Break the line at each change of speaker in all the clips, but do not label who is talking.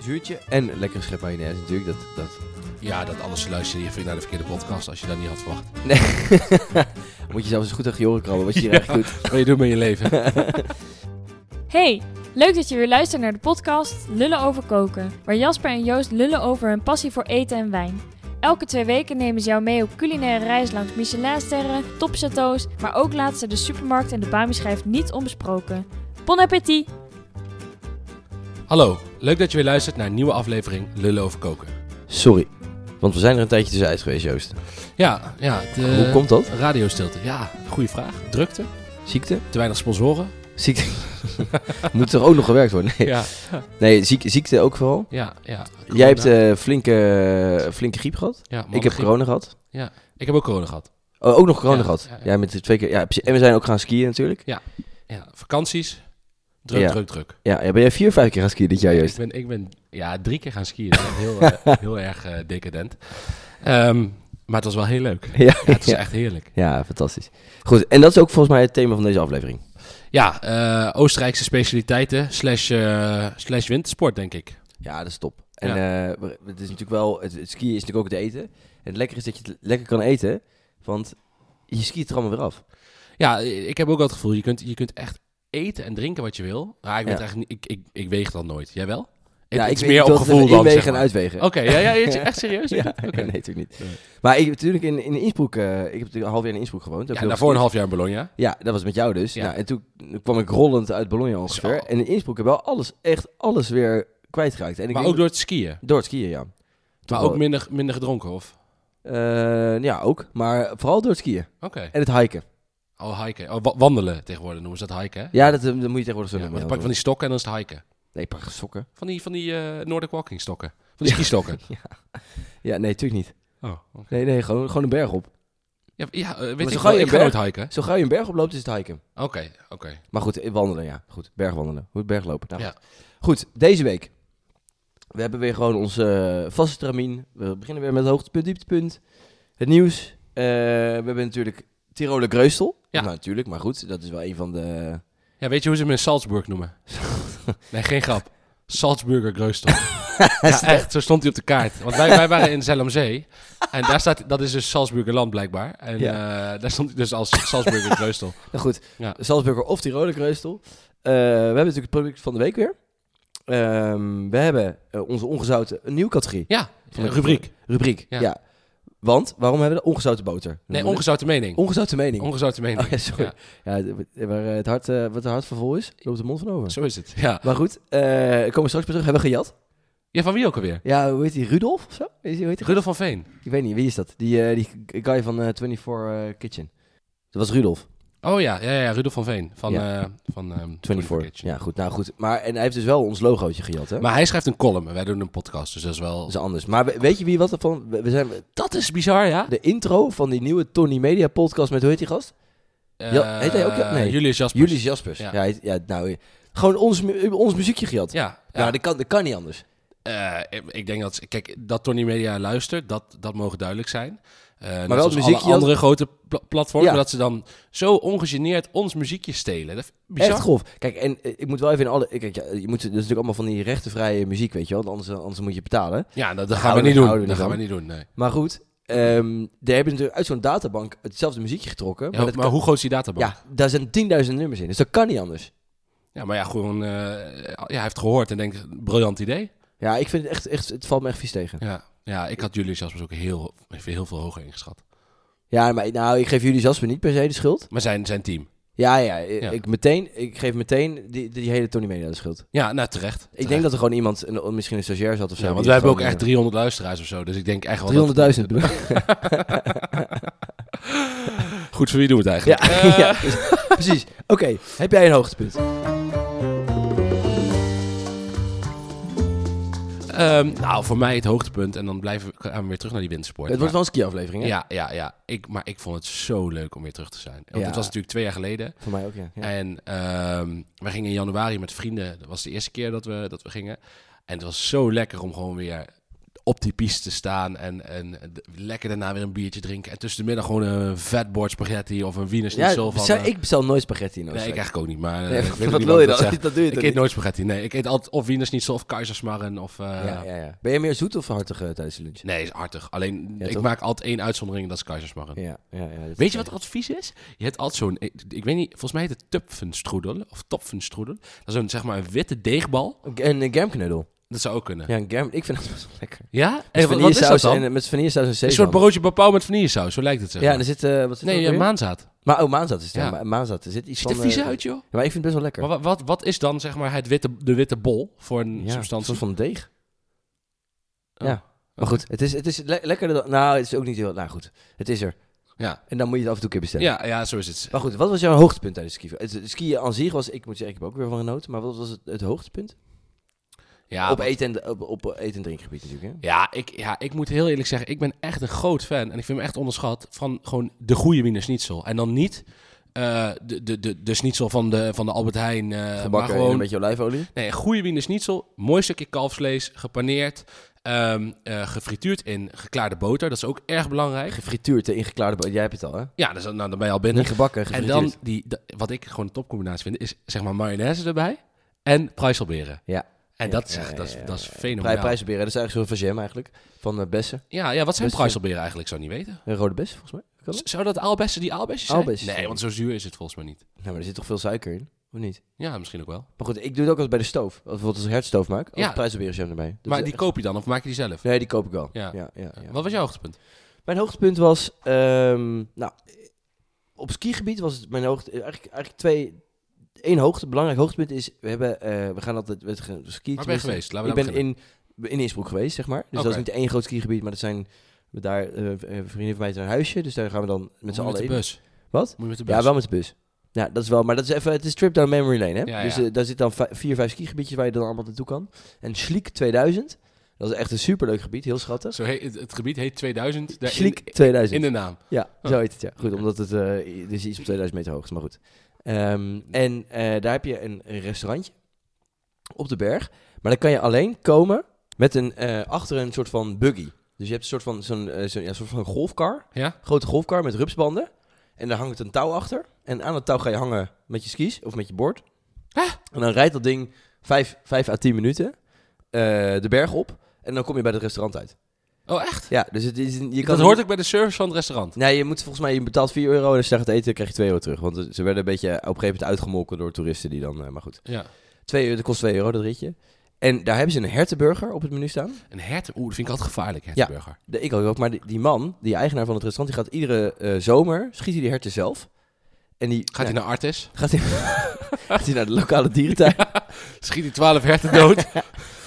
vuurtje en lekkere schep mayonaise natuurlijk. Dat, dat...
Ja, dat anders luister je even naar de verkeerde podcast als je dat niet had verwacht.
Nee. Moet je zelfs eens goed tegen je oren krabben wat je hier
Ja.
eigenlijk doet.
Wat je doet met je leven.
Hey, leuk dat je weer luistert naar de podcast Lullen over koken, waar Jasper en Joost lullen over hun passie voor eten en wijn. Elke twee weken nemen ze jou mee op culinaire reis langs Michelinsterren, topchateaus, maar ook laatst ze de supermarkt en de bami-schijf niet onbesproken. Bon appétit!
Hallo, leuk dat je weer luistert naar een nieuwe aflevering Lullen over koken.
Sorry, want we zijn er een tijdje tussenuit geweest, Joost.
Ja, ja. het, eh,
Hoe komt dat?
Radiostilte. Ja, goede vraag. Drukte.
Ziekte?
Te weinig sponsoren.
Ziekte. Moet er ook nog gewerkt worden? Nee,
Ja,
nee ziek, ziekte ook vooral.
ja, ja.
Jij hebt eh, flinke, flinke griep gehad.
Ja,
ik heb
mannen-
corona gehad.
Ik heb ook corona gehad.
Oh, ook nog corona
Ja,
gehad.
ja,
Ja,
ja.
met de twee keer. Ja, precies. en we zijn ook gaan skiën natuurlijk.
Ja, vakanties. Druk,
Ja.
druk, druk.
Ja, ja, ben jij vier of vijf keer gaan skiën dit jaar,
Ik
Joost?
ben, ik ben ja, drie keer gaan skiën. Dat is echt heel, eh, heel erg eh, decadent. Ehm, maar het was wel heel leuk.
Ja,
Ja, het is
ja.
echt heerlijk.
Ja, fantastisch. Goed, en dat is ook volgens mij het thema van deze aflevering.
Ja, eh, Oostenrijkse specialiteiten slash, eh, slash wintersport, denk ik.
Ja, dat is top. En eh, maar het is natuurlijk wel, het, het skiën is natuurlijk ook het eten. En het lekker is dat je het lekker kan eten, want je skiet er allemaal weer af.
Ja, ik heb ook wel het gevoel, je kunt, je kunt echt eten en drinken wat je wil. Maar ik, weet
Ja.
eigenlijk niet, ik, ik, ik weeg dat nooit. Jij wel?
ja,
het
ik
is
weet-
meer
ik
op
wil het
gevoel
even
dan,
inwegen
zeg
en
maar.
uitwegen.
Oké, ja, ja, is het echt serieus?
Ja,
Oké.
nee, natuurlijk niet.
Nee.
Maar ik heb natuurlijk in, in Innsbruck, eh, ik heb natuurlijk een half jaar in Innsbruck gewoond. Heb
Ja,
ik heel
daarvoor een
veel
half jaar in Bologna.
Ja, dat was met jou dus.
Ja.
Nou, en toen kwam ik rollend uit Bologna ongeveer.
Zo.
En in Innsbruck heb ik wel alles, echt alles weer kwijtgeraakt. En ik
Maar
denk
ook door het skiën.
dat- door het skiën, ja. wel.
Maar ook minder, minder gedronken, of?
Eh, ja, ook. Maar vooral door het skiën.
Oké.
En het hiken.
Oh, hiken. Oh, wa- wandelen tegenwoordig noemen ze dat hiken, hè?
Ja, dat, eh, dat moet je tegenwoordig zo
Ja,
noemen.
dan pak je van die stokken en dan is het hiken.
Nee, pak sokken.
Van die, van die eh, Nordic walking stokken. Van die skistokken.
Ja, nee, natuurlijk niet.
Oh.
Nee, nee, gewoon, gewoon een berg op.
Ja, ja eh,
Maar
weet
zo
ik
ga
wel,
je
ik ga
berg-
nooit hiken.
Zo gauw je een berg op loopt, is het hiken.
Oké, oké.
Maar goed, eh, wandelen, ja. Goed, bergwandelen. Goed, berglopen. Nou,
Ja.
Goed, deze week. We hebben weer gewoon onze eh, vaste tramien. We beginnen weer met het hoogtepunt, dieptepunt. Het nieuws. Eh, we hebben natuurlijk Tiroler Greusel.
Ja.
Nou, natuurlijk, maar goed. Dat is wel een van de...
Ja, weet je hoe ze hem in Salzburg noemen? nee, geen grap. Salzburger Greustel. ja, echt. Zo stond hij op de kaart. Want wij, wij waren in Zellamzee. En daar staat, dat is dus Salzburger land blijkbaar. En eh, daar stond hij dus als Salzburger Greustel.
Nou goed,
Ja.
Salzburger of Tiroler Greusel. Eh, we hebben natuurlijk het product van de week weer. Ehm, we hebben eh, onze ongezouten... Een nieuwe categorie.
Ja,
Van
een
de-
rubriek.
Rubriek,
Ja.
ja. Want, waarom hebben we dat? Ongezouten boter?
Nee,
Noemen we
ongezouten
dat?
mening.
ongezouten Oh, mening.
Ongezouten mening.
Oh, ja, sorry.
Ja.
Ja, d- waar eh, het hart, eh, wat het hart vervol is, loopt de mond van over.
Zo is het. Ja.
Maar goed, eh, daar komen we straks bij terug. Hebben we gejat?
ja, van wie ook alweer?
Ja, hoe heet die? Rudolf of zo? Is die, hoe heet die?
Rudolf van Veen.
Ik weet niet, wie is dat? Die, eh, die guy van eh, 24 eh, Kitchen. Dat was Rudolf,
Oh ja, ja, ja Rudolf van Veen. Van,
Ja.
eh, van ehm,
24.
Kitchen.
Ja, goed. Nou goed, maar en hij heeft dus wel ons logootje gejat, hè?
Maar hij schrijft een column en wij doen een podcast. Dus dat is wel...
dat is anders. Maar we- weet je wie wat ervan... We we zijn
Dat is bizar, ja?
de intro van die nieuwe Tony Media podcast met, hoe heet die gast? Ja, heet hij ook-
Eh,
nee.
Julius Jaspers.
Julius Jaspers.
Ja.
Ja, hij- ja nou, eh, gewoon ons, mu- ons muziekje gejat. Ja,
Ja. ja.
nou, dat kan, dat kan niet anders.
Eh, ik denk dat... Kijk, dat Tony Media luistert, dat, dat mogen duidelijk zijn. Eh, net
wel
zoals
het muziekje
alle andere grote pla- platforms,
Ja.
maar dat ze dan zo ongegeneerd ons muziekje stelen. Dat is bizar.
Echt grof. Kijk, en eh, ik moet wel even in alle... Kijk, ja, je moet, dat is natuurlijk allemaal van die rechtenvrije muziek, weet je wel. Anders, eh, anders moet je betalen.
Ja, dat, dat gaan we
Houden-
niet doen.
houden we
Dat
niet
gaan we
van.
niet doen, nee.
Maar goed, ehm, daar hebben ze natuurlijk uit zo'n databank hetzelfde muziekje getrokken.
Ja,
maar
Maar,
dat
hoe groot is die databank?
kan- ja, daar zijn 10.000 nummers in, dus dat kan niet anders.
Ja, maar ja, gewoon... eh, ja, hij heeft gehoord en denkt, briljant idee.
Ja, ik vind het echt, echt het valt me echt vies tegen.
Ja, ja ik had Julius Jaspers ook heel, heel veel hoger ingeschat.
Ja, maar nou, ik geef jullie Jasper niet per se de schuld.
Maar zijn, zijn team.
Ja, ja, eh,
Ja.
Ik, meteen, ik geef meteen die, die hele Tony Media de schuld.
Ja, nou terecht.
Ik
Terecht.
denk dat er gewoon iemand, een, misschien een stagiair zat of zo.
Ja, want
die
wij hebben ook
gewoon,
echt 300 luisteraars of zo. Dus ik denk echt wel. dat-
eh, 300.000 bedoel ik.
Goed, voor wie doen we het
Ja,
eigenlijk?
ja precies. Oké, heb jij een hoogtepunt?
Ehm, nou, voor mij het hoogtepunt. En dan blijven we, gaan we weer terug naar die wintersport.
het wordt wel een ski-aflevering,
Maar-
hè?
ja, ja, ja. Ik, maar ik vond het zo leuk om weer terug te zijn. Want
Ja.
het was natuurlijk twee jaar geleden.
Voor mij ook, ja. ja.
En ehm we gingen in januari met vrienden. Dat was de eerste keer dat we, dat we gingen. En het was zo lekker om gewoon weer op die piste staan en, en d- lekker daarna weer een biertje drinken. En tussen de middag gewoon een vetbord spaghetti of een Wiener
Ja,
schnitzel. van,
bestel-
eh,
ik bestel nooit spaghetti in
nee, ik
Oostenrijk.
eigenlijk ook niet, maar eh,
Nee,
ik weet ook
wat
niet
wil
waarom
je
ik
dan?
dat zeg.
Dat doe je
Ik
toch
eet
niet?
nooit spaghetti, nee. Ik eet altijd of Wiener schnitzel of keizersmarren of... eh,
Ja, ja, ja. Ben je meer zoet of hartig eh, tijdens de lunch?
Nee, is hartig. Alleen,
Ja,
ik
toch?
maak altijd één uitzondering en dat is keizersmarren.
Ja, ja, ja, dat-
Weet je wat het advies is? Je hebt altijd zo'n, ik ik weet niet, volgens mij heet het tupfenstroedel of topfenstroedel. Dat is een, zeg maar, een witte deegbal.
En een germknuddel.
Dat zou ook kunnen. Ja?
Ja, een germ... Ik vind dat best wel lekker.
En
Met
wat, wat is dat
vanillesaus
dan?
en- Met vanillesaus en
een
sesam.
soort broodje papau met vanillesaus, zo lijkt het zeg
Ja,
maar.
en er zit... eh, wat zit er
nee,
ook
ja,
weer in?
maanzaad.
Maar, oh, maanzat is het. Ja.
Ja.
ma- maanzat. Er zit iets
Ziet er
van...
vies
eh,
uit, joh.
Ja, maar ik vind het best wel lekker.
Maar wa- wat, wat is dan, zeg maar, het witte, de witte bol voor een
ja, een
substantie?
soort van deeg.
Oh.
Ja. Maar goed, het is, het is le- lekkerder dan... Nou, het is ook niet heel... Nou goed, het is er.
Ja.
En dan moet je het af en toe een keer bestellen.
Ja, ja, zo is het.
Maar goed, wat was jouw hoogtepunt tijdens skiën? Het het skiën aan zich was... Ik moet zeggen, ik heb ook weer van genoten. Maar wat was het, het hoogtepunt?
Ja,
op,
wat-
eten en, op, op eten en drinkgebied natuurlijk, hè?
Ja ik, ja, ik moet heel eerlijk zeggen, ik ben echt een groot fan. En ik vind hem echt onderschat van gewoon de goede Wiener Schnitzel. En dan niet eh, de, de, de, de schnitzel van de, van de Albert Heijn. eh, maar
Gebakken en
gewoon,
een beetje olijfolie.
nee, een goede Wiener Schnitzel. Mooi stukje kalfsvlees, gepaneerd, ehm, eh, gefrituurd in geklaarde boter. Dat is ook erg belangrijk.
Gefrituurd, hè, ingeklaarde... bo- Jij hebt het al, hè?
Ja, dus, dan- nou, dan ben je al binnen.
Niet gebakken,
En
gefrituurd.
dan, die, da- wat ik gewoon een topcombinatie vind, is zeg maar mayonaise erbij en pruiselberen.
Ja.
En
Ja,
dat, is,
ja,
echt-
ja,
dat, is,
ja,
dat is
ja.
fenomenaal.
Prij prijzenberen, dat is eigenlijk zo'n van jam eigenlijk. Van eh, bessen.
Ja, ja, wat zijn
Dus-
pruiselberen eigenlijk? Ik zou niet weten.
Een rode bes, volgens mij. Kan dat?
Z- Zou dat aalbessen die aalbessen zijn?
Aalbessen zijn.
Nee, want zo zuur is het volgens mij niet.
Nou, maar er zit toch veel suiker in? Of niet?
Ja, misschien ook wel.
Maar goed, ik doe het ook als bij de stoof. Als bijvoorbeeld als ik hertstoof maak, als
Ja.
prijzenberen jam erbij. Dat
maar
is
die
echt-
koop je dan of maak je die zelf?
Nee, die koop ik wel.
Ja.
Ja, ja, ja.
Wat was jouw hoogtepunt?
Mijn hoogtepunt was... ehm, nou, op skigebied was het mijn hoogte... Eigenlijk, eigenlijk twee... Eén hoogte, belangrijk hoogtepunt is... We, hebben, eh, we gaan altijd... We gaan skiën
Waar ben je
tenminste.
geweest? Laten
Ik
we
ben in, in Innsbruck geweest, zeg maar. Dus dat
Oké.
is niet één groot skigebied, maar dat zijn... Daar, eh, vrienden van mij heeft een huisje, dus daar gaan we dan met z'n allen
Oh, de
in.
bus.
Wat?
Moet je met de bus?
Ja, wel met de bus. Ja, dat is wel. Maar dat is even, het is trip down memory lane, hè?
Ja,
dus
ja.
eh, daar zit dan vi- vier, vijf skigebiedjes waar je dan allemaal naartoe kan. En Schliek 2000, dat is echt een superleuk gebied, heel schattig.
Zo heet, het, het gebied heet 2000. daar in-
Schliek
in,
2000.
de naam.
Ja,
Oh.
zo heet het, ja. Goed, omdat het eh, i- dus iets op 2000 meter hoog is, maar goed. Ehm, en eh, daar heb je een, een restaurantje op de berg. Maar dan kan je alleen komen met een, eh, achter een soort van buggy. Dus je hebt een soort van, zo'n, eh, zo'n- ja, soort van golfkar
Ja?
grote golfkar met rupsbanden. En daar hangt een touw achter. En aan dat touw ga je hangen met je skis of met je board. En dan rijdt dat ding 5, 5 à 10 minuten eh, de berg op. En dan kom je bij het restaurant uit.
Oh, echt?
Ja, dus het is, een- je kan
dat hoort ook bij de service van het restaurant.
Nee, je moet volgens mij, je betaalt 4 euro en als je daar gaat eten, krijg je 2 euro terug. Want ze werden een beetje op een gegeven moment uitgemolken door toeristen die dan, eh, maar goed.
Ja.
2 euro, dat kost 2 euro dat ritje. En daar hebben ze een hertenburger op het menu staan.
Een hert, oeh, dat vind ik altijd gevaarlijk, hertenburger.
De, ik ook, maar die, die man, die eigenaar van het restaurant, die gaat iedere eh, zomer, schiet hij die herten zelf. En die, nou,
Gaat hij naar Artis?
Gaat hij, gaat hij naar de lokale dierentuin?
Schiet hij 12 herten dood?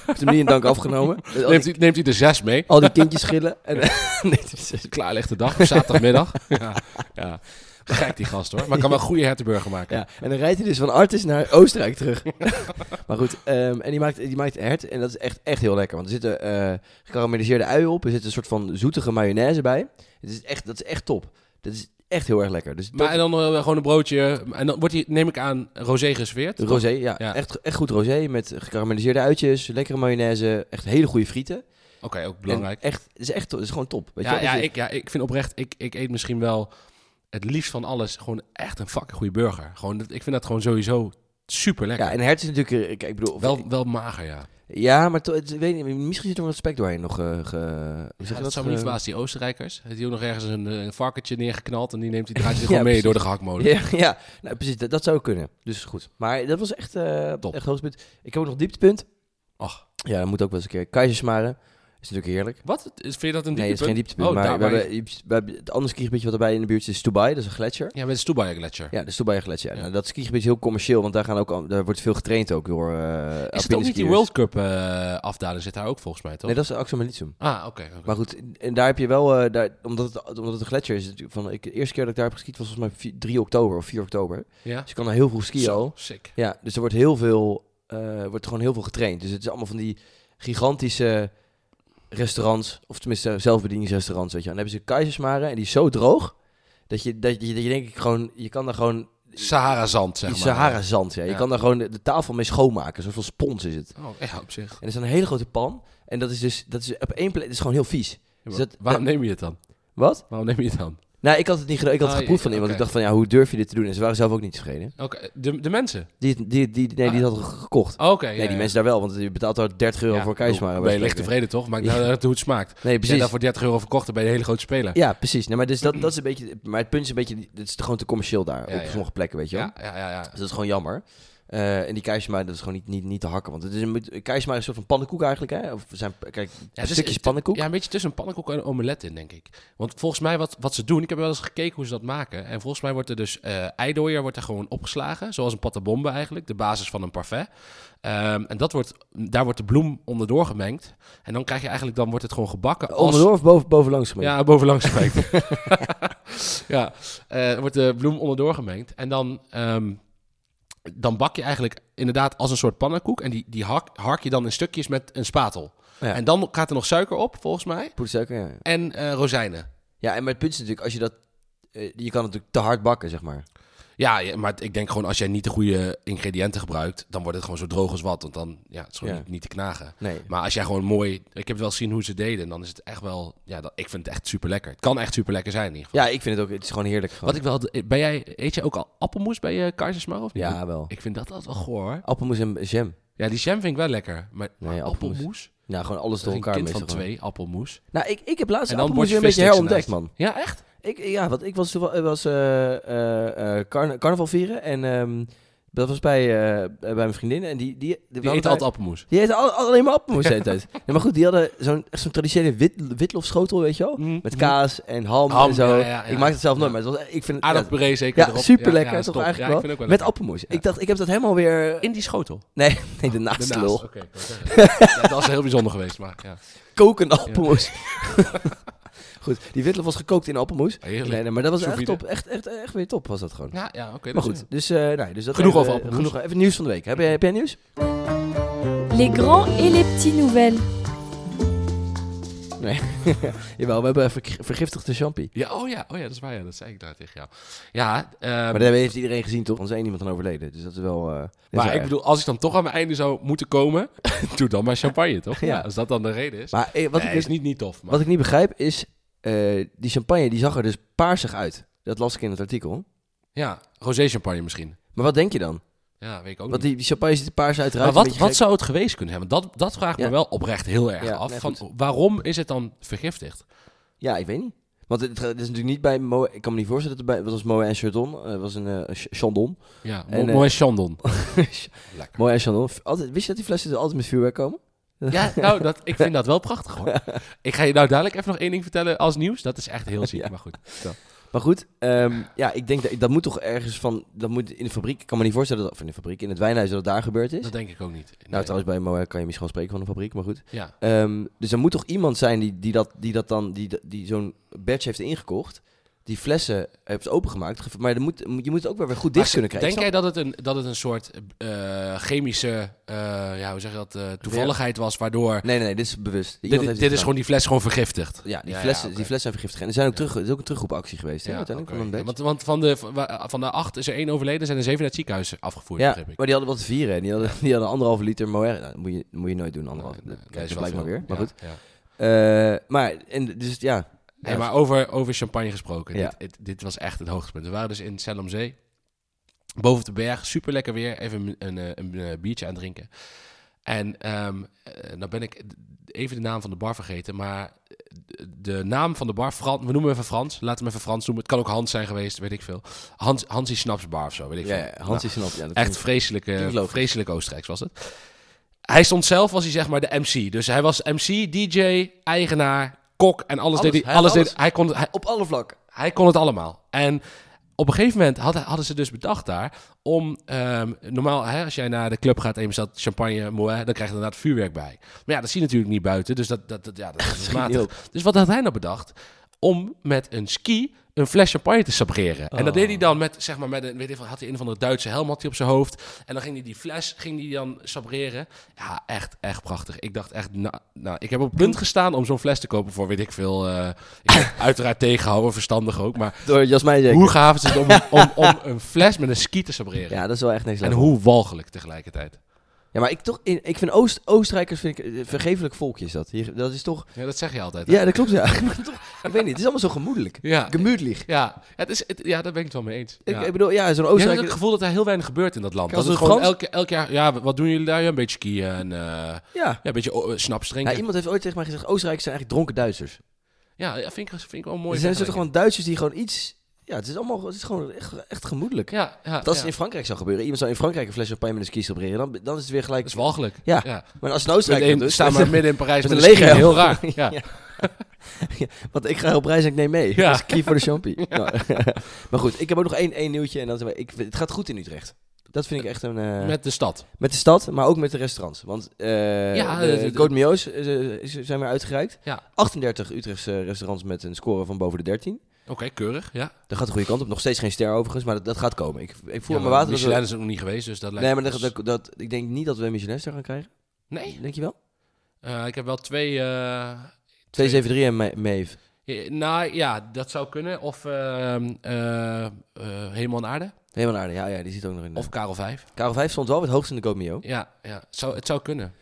Heeft hem niet in dank afgenomen. Dus al,
neemt,
die,
hij, neemt hij er zes mee?
al die kindjes schillen. En, nee, het is- dus
Klaarlegde dag, op zaterdagmiddag. ja. ja. Gek die gast hoor. Maar kan wel een goede hertenburger maken.
ja. En dan rijdt hij dus van Artis naar Oostenrijk terug. maar goed, ehm, en die maakt, die maakt hert. En dat is echt, echt heel lekker. Want er zitten eh gekarameliseerde uien op. Er zit een soort van zoetige mayonaise bij. Het is echt, dat is echt top. Dat is echt heel erg lekker. Dus dat-
Maar en dan eh, gewoon een broodje. En dan wordt die, neem ik aan, rosé geserveerd. toch?
Rosé, ja.
Ja.
Echt, echt goed rosé met gekarameliseerde uitjes, lekkere mayonaise, echt hele goede frieten.
Oké, ook belangrijk.
En echt, het is echt, het is gewoon top. Weet je
ja,
wel?
ja,
Dus je-
ik, ja, ik vind oprecht, ik, ik eet misschien wel het liefst van alles gewoon echt een fucking goede burger. Gewoon, dat- ik vind dat gewoon sowieso super lekker.
ja, en hert is natuurlijk, eh, kijk, ik bedoel, of-
wel, wel mager, ja.
Ja, maar to- het- ik weet niet, misschien zit er nog wat spek doorheen nog. eh, ge- hoe zeg je Eh,
Ja, dat zou me
Ge-
niet verbazen, die Oostenrijkers. Heeft hij ook nog ergens een, eh, een varkentje neergeknald en die neemt hij draait hij
Ja,
gewoon mee
precies.
door de gehaktmolen.
Ja, ja. Nou, precies, dat, dat zou kunnen. Dus goed. Maar dat was echt, eh
Top.
echt hoogtepunt. Ik heb ook nog dieptepunt.
Ach.
Ja, dat moet ook wel eens een keer. Keizersmaren. Is natuurlijk heerlijk.
Wat? Is- Vind je dat een
nee, dat is geen dieptepunt.
dieptepunt? Oh,
maar
daar
we
waar je-
hebben, we hebben het andere skigebiedje wat erbij in de buurt zit is Dubai. Dat is een gletsjer.
Ja, met de Stubai Gletscher.
Ja, de Dubai gletsjer.
Ja.
Nou, dat skigebied is heel commercieel, want daar, gaan ook, al- daar wordt veel getraind ook door eh
is het ook niet die
alpineskiërs.
World Cup eh, afdaling zit daar ook volgens mij, toch?
Nee, dat is Axomalitium.
Ah, oké. oké.
Maar goed, en daar heb je wel, eh, daar, omdat, het, omdat het een gletsjer is, natuurlijk van, ik, de eerste keer dat ik daar heb geskiet was volgens mij 4 3 oktober of 4 oktober.
Ja?
Dus je kan daar heel veel skiën
Zo,
al.
sick.
Ja, dus er wordt heel veel, eh, wordt gewoon heel veel getraind. Dus het is allemaal van die gigantische restaurants, of tenminste zelfbedieningsrestaurants, weet je. wel. En dan hebben ze keizersmaren en die is zo droog, dat je, dat je, dat je denk ik gewoon, je kan daar gewoon
Sahara-zand, zeg maar. eh,
Sahara-zand, ja. Je
Ja.
kan daar gewoon de, de tafel mee schoonmaken. Zo'n soort spons is het. En
Oh, ja, op zich.
er is een hele grote pan. En dat is dus, dat is op één plek, dat is gewoon heel vies. Dus dat-
Waarom neem je het dan?
Wat?
Waarom neem je het dan?
Nou, ik had het niet gedaan. Ik had het
Ah,
geproefd van
ja,
iemand.
oké.
Ik dacht van, ja, hoe durf je dit te doen? En ze waren zelf ook niet tevreden.
Oké, de, de mensen?
Die, die, die, nee, die
Ah.
hadden gekocht.
Oké, ja,
nee, die
ja.
mensen daar wel, want je betaalt daar 30 euro
Ja,
voor
ik bedoel,
keismaren.
Ben je licht tevreden toch? Maakt
Ja.
niet uit hoe het smaakt.
Nee,
Als je
precies.
daarvoor 30 euro verkocht, dan ben je een hele grote speler.
Ja, precies. Nee, maar, dus dat, dat is een beetje, maar het punt is een beetje, het is gewoon te commercieel daar.
Ja,
op
ja.
sommige plekken, weet je wel.
ja, ja. ja, ja.
Dus dat is gewoon jammer. Eh, en die keisma, dat is gewoon niet, niet, niet te hakken. Want het is een, keisma is een soort van pannenkoek eigenlijk, hè? Of zijn, kijk,
het is-
stukjes
het-
pannenkoek.
Ja, een beetje tussen een pannenkoek en een omelet in, denk ik. Want volgens mij, wat, wat ze doen, ik heb wel eens gekeken hoe ze dat maken. En volgens mij wordt er dus eh eidooier wordt er gewoon opgeslagen. Zoals een patabombe eigenlijk, de basis van een parfait. Ehm, en dat wordt, daar wordt de bloem onderdoor gemengd. En dan krijg je eigenlijk, dan wordt het gewoon gebakken. als-
Onderdoor of boven, bovenlangs gemengd?
Ja, bovenlangs gemengd. ja, eh, wordt de bloem onderdoor gemengd. En dan, ehm, dan bak je eigenlijk inderdaad als een soort pannenkoek. En die, die hak, hark je dan in stukjes met een spatel.
Ja.
En dan gaat er nog suiker op, volgens mij.
Poedersuiker, ja.
En eh, rozijnen.
Ja, en maar het punt is natuurlijk, als je dat... eh, je kan het natuurlijk te hard bakken, zeg maar.
Ja, ja, maar ik denk gewoon als jij niet de goede ingrediënten gebruikt, dan wordt het gewoon zo droog als wat. Want dan ja, het is gewoon
Ja.
niet, niet te knagen.
Nee.
Maar als jij gewoon mooi. Ik heb het wel zien hoe ze het deden. En dan is het echt wel. Ja, dat, ik vind het echt super lekker. Het kan echt super lekker zijn in ieder geval.
Ja, ik vind het ook... Het is gewoon heerlijk. Gewoon.
Wat ik wel. eh, Ben jij, eet jij ook al appelmoes bij je kaarsjesmaar of niet?
Ja, wel.
Ik vind dat altijd wel goor. hoor.
Appelmoes en jam.
Ja, die jam vind ik wel lekker. Maar,
Nee,
maar
appelmoes.
appelmoes.
Ja, gewoon alles door
Dat is een
elkaar.
kind van
meestal gewoon.
twee, appelmoes.
Nou, ik, ik heb laatst
En dan
appelmoes
bord je
weer een beetje
vissticks
herontdekt,
ernaast.
man.
Ja, echt?
Ik, ja, wat, ik was, toeval- eh, was eh, eh, eh, carna- carnaval vieren en ehm, dat was bij, eh, bij mijn vriendin. En die, die,
Die eet altijd appelmoes.
Die eten al, al- alleen maar appelmoes de hele tijd. Nee, maar goed, die hadden zo'n echt zo'n traditionele wit, witlofschotel, weet je wel? Met kaas en ham,
Mm-hmm. Ham,
en zo.
ja, ja, ja.
ik maak het zelf nooit,
Ja.
maar het was, ik vind het... Ja,
Aardappelpuree zeker
ja,
erop.
superlekker,
dat is
toch
top.
eigenlijk wel?
Ja, ik vind het ook wel
met
lekker.
appelmoes.
Ja.
Ik dacht, ik heb dat helemaal weer...
In die schotel.
Nee, nee, de naaste
Daarnaast,
Ah, lul.
oké, ik wou zeggen. ja, dat is heel bijzonder geweest, maar ja.
Kokende appelmoes. goed, die witlof was gekookt in appelmoes.
Heerlijk.
Nee, nee, maar dat was
Sous
echt
vide.
top. Echt, echt, echt weer top was dat gewoon.
Ja, ja oké.
Maar
dat
goed,
is-
dus, eh nee, dus dat
Genoeg
even,
over appelmoes.
genoeg- Even nieuws van de week. Heb jij, heb jij nieuws?
Les grands et les petits nouvelles.
Jawel, we hebben verg- vergiftigde champi.
Ja, oh ja, oh ja, dat is waar. Ja, dat zei ik daar tegen jou. Ja, eh,
Maar
maar,
dat heeft iedereen gezien, toch? Anders is één iemand dan overleden. Dus dat is wel... eh, dat is wel
ik
erg.
bedoel, als ik dan toch aan mijn einde zou moeten komen, doe dan maar champagne, toch?
Ja.
Ja. als dat dan de reden is.
Maar eh, wat,
Nee,
ik, dus-
is niet niet tof. Maar.
wat ik niet begrijp is... eh, die champagne, die zag er dus paarsig uit. Dat las ik in het artikel.
Ja, rosé champagne misschien.
Maar wat denk je dan?
Ja, weet ik ook
Want
niet.
die, die champagne ziet er paars uit.
Maar
ruikt een
wat,
beetje
wat zou het geweest kunnen zijn? Want dat, dat vraagt
Ja.
me wel oprecht heel erg
Ja,
af.
nee,
van, waarom is het dan vergiftigd?
gek. Ja, ik weet niet. Want het, het is natuurlijk niet bij Moe... Ik kan me niet voorstellen dat het bij... Wat was Moe en Chardon? Eh, was een eh, Ch- Chandon.
Ja,
En, eh,
mooi chandon. Lekker.
Moe en Chandon. Altijd, wist je dat die flessen er altijd met vuurwerk komen?
Ja, nou, dat, ik vind dat wel prachtig hoor. Ik ga je nou dadelijk even nog één ding vertellen als nieuws. Dat is echt heel ziek,
Ja.
maar goed.
Maar goed, ehm, ja, ik denk dat dat moet toch ergens van... Dat moet in de fabriek... Ik kan me niet voorstellen dat... Of in de fabriek, in het wijnhuis dat het daar gebeurd is.
Dat denk ik ook niet. Nee.
Nou, trouwens, bij Moe kan je misschien wel spreken van een fabriek, maar goed.
Ja,
Ehm, dus er moet toch iemand zijn die, die, dat, die, dat dan, die, die zo'n badge heeft ingekocht. Die flessen heeft opengemaakt. ge- Maar er moet, je moet het ook wel weer goed dicht kunnen krijgen.
Denk jij dat het een, dat het een soort eh, chemische eh, ja, hoe zeg je dat, eh, toevalligheid was, waardoor...
snap je? Nee, nee, nee, dit is bewust. Iemand
Dit,
heeft
dit is
gedaan.
gewoon die fles gewoon vergiftigd.
Ja, die
Ja, ja,
flessen,
oké.
die flessen zijn vergiftigd. En er, zijn ook terug, er is ook een terugroepactie geweest. hè,
Ja,
uiteindelijk,
oké.
van een badge.
want, want van de, van de acht is er één overleden, zijn er zeven naar het ziekenhuis afgevoerd,
Ja,
begreep ik.
maar die hadden wat te vieren. En die hadden, die hadden anderhalve liter Moer. Nou, dat moet je, dat moet je nooit doen,
Nee,
anderhalve.
Eh, nee,
dat
nee,
dat
is wel
blijkt maar weer.
veel.
Maar
Ja,
goed.
ja.
Eh, maar, en, dus ja.
Hey,
Ja,
maar over, over champagne gesproken.
Ja.
Dit, dit, dit was echt het hoogtepunt. We waren dus in Zellamzee. Boven op de berg. Super lekker weer. Even een, een, eh, een, eh, biertje aan het drinken. En ehm eh, nou ben ik d- even de naam van de bar vergeten. Maar de- de naam van de bar, Fran, we noemen hem even Frans. Laten we hem even Frans noemen. Het kan ook Hans zijn geweest, weet ik veel. Hans, Hansie Snapsbar of zo, weet ik
ja,
veel.
ja, Hans is een op. Ja, dat
Nou, Echt vreselijke,
Klinkt logisch.
vreselijk Oostenrijks was het. Hij stond zelf, was hij zeg maar de MC. Dus hij was MC, DJ, eigenaar, kok en alles,
Alles.
deed hij.
Hij had
Alles deed,
alles.
hij, kon, hij,
op alle vlakken.
hij kon het allemaal. En op een gegeven moment hadden, hadden ze dus bedacht daar om... ehm, normaal, hè, als jij naar de club gaat en je bestelt champagne, moe, dan krijg je inderdaad vuurwerk bij. Maar ja, dat zie je natuurlijk niet buiten, dus dat, dat, dat- ja, dat is
niet
matig. Dus wat had hij nou bedacht? om met een ski een fles champagne te sabreren. En dat
Oh.
deed hij dan met, zeg maar, met een, weet ik, veel, had hij een van de Duitse helm had hij op zijn hoofd. En dan ging hij die fles, ging hij dan sabreren. Ja, echt, echt prachtig. Ik dacht echt, nou, nou ik heb op het punt gestaan om zo'n fles te kopen voor, weet ik veel, eh, ik heb uiteraard tegenhouden, verstandig ook. Maar
Door Jasmijn zeker.
hoe gaaf is het om, om, om een fles met een ski te sabreren?
Ja, dat is wel echt niks
en hoe walgelijk tegelijkertijd.
Ja, maar ik, toch, in- ik vind Oost, Oostenrijkers vind ik, eh, vergeeflijk volkje is dat. Hier, dat is toch...
Ja, dat zeg je altijd. hè?
Ja, dat klopt ja. Maar toch, ik weet niet, het is allemaal zo gemoedelijk.
Ja,
Gemütlich.
ja, het is, het- ja, daar ben ik het wel mee eens.
Ik, oh,
Ja.
ik bedoel, ja, zo'n
Je hebt ook
Oostenrijker...
het gevoel dat er heel weinig gebeurt in dat land.
Kan
Dat
ze
het
het
gewoon
Frans?
elke, elk jaar, ja, wat doen jullie daar? Ja, een beetje skiën en eh,
Ja.
ja, een beetje oh, eh, snaps
Ja,
drinken. Ja,
iemand heeft ooit tegen mij gezegd, Oostenrijkers zijn eigenlijk dronken Duitsers.
ja, vind, ik, vind ik wel mooi.
Er zijn soort gewoon Duitsers die gewoon iets... Ja, het is allemaal het is gewoon echt, echt gemoedelijk.
Ja, ja,
Dat is
ja.
in Frankrijk zou gebeuren. Iemand zou in Frankrijk een fles champagne met een ski sabreren. Dan, dan is het weer gelijk...
Dat is walgelijk.
Ja.
ja.
Maar als het in Oostenrijk
Meteen
doet, dus,
staan we midden in Parijs
met
met,
een
een ski,
leger.
Heel raar. Ja.
Ja. Want ik ga op reis en ik neem mee.
Ja.
Dus ik kies voor de champie. Nou, maar goed, ik heb ook nog één, één nieuwtje. En dat, is- eh, ik, vind- het gaat goed in Utrecht. Dat vind ik echt een... eh, met,
Met de stad.
de stad, maar ook met de restaurants. Want eh
Ja,
de
eh,
Code Mio's eh, ze- ze zijn weer uitgereikt.
Ja.
38 Utrechtse restaurants met een score van boven de 13.
Oké, keurig. Ja.
Dat gaat de goede kant op. Nog steeds geen ster overigens, maar dat, dat gaat komen. Ik, ik voel
ja,
me water... dat we-
Michelin is er nog niet geweest, dus dat lijkt
nee, maar
me
dat,
dus-
dat, dat- ik denk niet dat we een Michelinster gaan krijgen.
Nee,
Denk je wel?
Eh, ik heb wel twee... eh,
273 en Ma- Maeve.
ja, nou ja, dat zou kunnen. Of ehm eh, eh, Hemel en Aarde.
Helemaal naar ja, ja, die zit ook nog in. de-
Of Karel 5.
Karel 5 stond wel het hoogst in de Code Mio.
Ja, ja. Het, zou, het zou kunnen.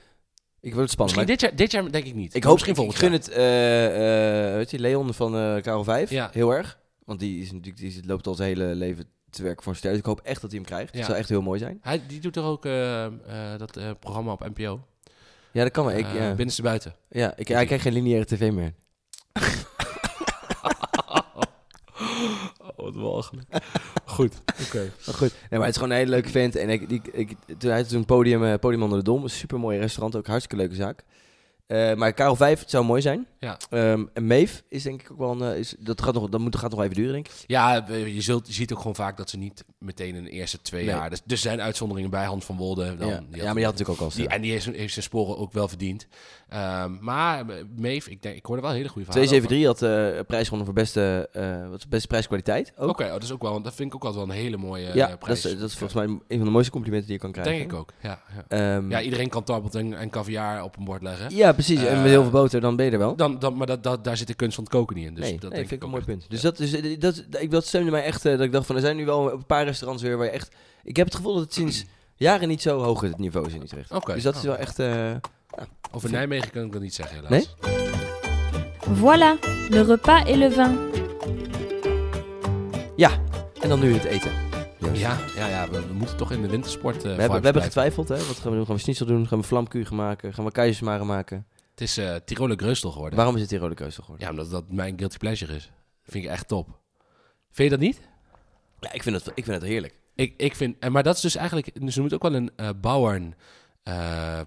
Ik wil het spannend.
Misschien dit jaar, dit jaar denk ik niet.
Ik hoop
Misschien
ik, ik
volgend
gun
jaar.
het, eh eh weet je, Leon van eh Karel 5
Ja.
heel erg. Want die, is natuurlijk, die zit- loopt al zijn hele leven te werken voor een ster. Dus ik hoop echt dat hij hem krijgt. Dat
Ja.
zou echt heel mooi zijn.
Hij, die doet er ook eh, eh, dat eh, programma op NPO.
Ja, dat kan wel. Ik,
Eh,
ja.
Binnenste buiten.
ja, ik, hij krijgt geen lineaire tv meer.
Oh, wat walgelijk. Goed. Oké.
Maar goed, nee, maar het is gewoon een hele leuke vent. En ik, ik, ik, toen, hij had toen podium, eh, podium onder de Dom. Een super mooi restaurant, ook een hartstikke leuke zaak. Eh, maar Karel 5 het zou mooi zijn.
Ja.
Ehm, en Maeve is denk ik ook wel een... eh, Is, dat gaat nog, dat moet, gaat nog wel even duren, denk ik.
Ja, eh, je, zult, je ziet ook gewoon vaak dat ze niet meteen in de eerste twee
Nee.
jaar... Dus er zijn uitzonderingen bij Hans van Wolde. Dan,
ja.
die had-
ja, maar je had natuurlijk ook al
die,
sterren.
en die heeft, zijn- heeft zijn sporen ook wel verdiend. Ehm, maar eh, Meef, ik, denk, ik hoorde wel hele goede verhalen.
273 had eh prijs gewonnen voor beste, eh, wat is het, beste prijskwaliteit.
over.
Ook.
Oké, oh, dat is ook wel. Dat vind ik ook altijd wel een hele mooie eh,
ja, dat
prijs.
is, dat is volgens mij een van de mooiste complimenten die je kan
Ja,
krijgen.
Denk ik ook, ja. Ja,
Ehm,
ja iedereen kan tabbelt en, en caviar op een bord leggen.
ja, precies. en met heel veel boter, dan ben je er wel.
Dan, dan, maar Eh, dat, dat, daar zit de kunst van het koken niet in. Dus
nee,
dat
nee,
denk
vind ik een
ook
mooi
echt.
punt. Dus dat, is, eh, dat, dat, ik, dat stemde mij echt, eh, dat ik dacht van, er zijn nu wel een paar restaurants weer waar je echt... Ik heb het gevoel dat het sinds jaren niet zo hoog het niveau is in Utrecht.
Oké.
Dus dat is
Oh.
wel echt... eh,
Over Nijmegen kan ik dat niet zeggen, helaas.
Nee?
Voilà, le repas et le vin.
ja, en dan nu het eten. Joost.
Ja, ja, ja we, we moeten toch in de wintersport. eh,
We hebben,
vibes
we hebben
blijven.
getwijfeld, hè? Wat gaan we doen? Gaan we schnitzel doen? Gaan we vlamkuchen maken? Gaan we keizersmaren maken?
Het is eh Tiroler Greustel geworden.
Waarom is het hier rode keuze geworden?
Ja, omdat dat mijn guilty pleasure is. Vind ik echt top. Vind je dat niet?
Ja, ik vind het, ik vind het heerlijk.
Ik, ik vind, en maar dat is dus eigenlijk, ze noemen het ook wel een eh bouwern eh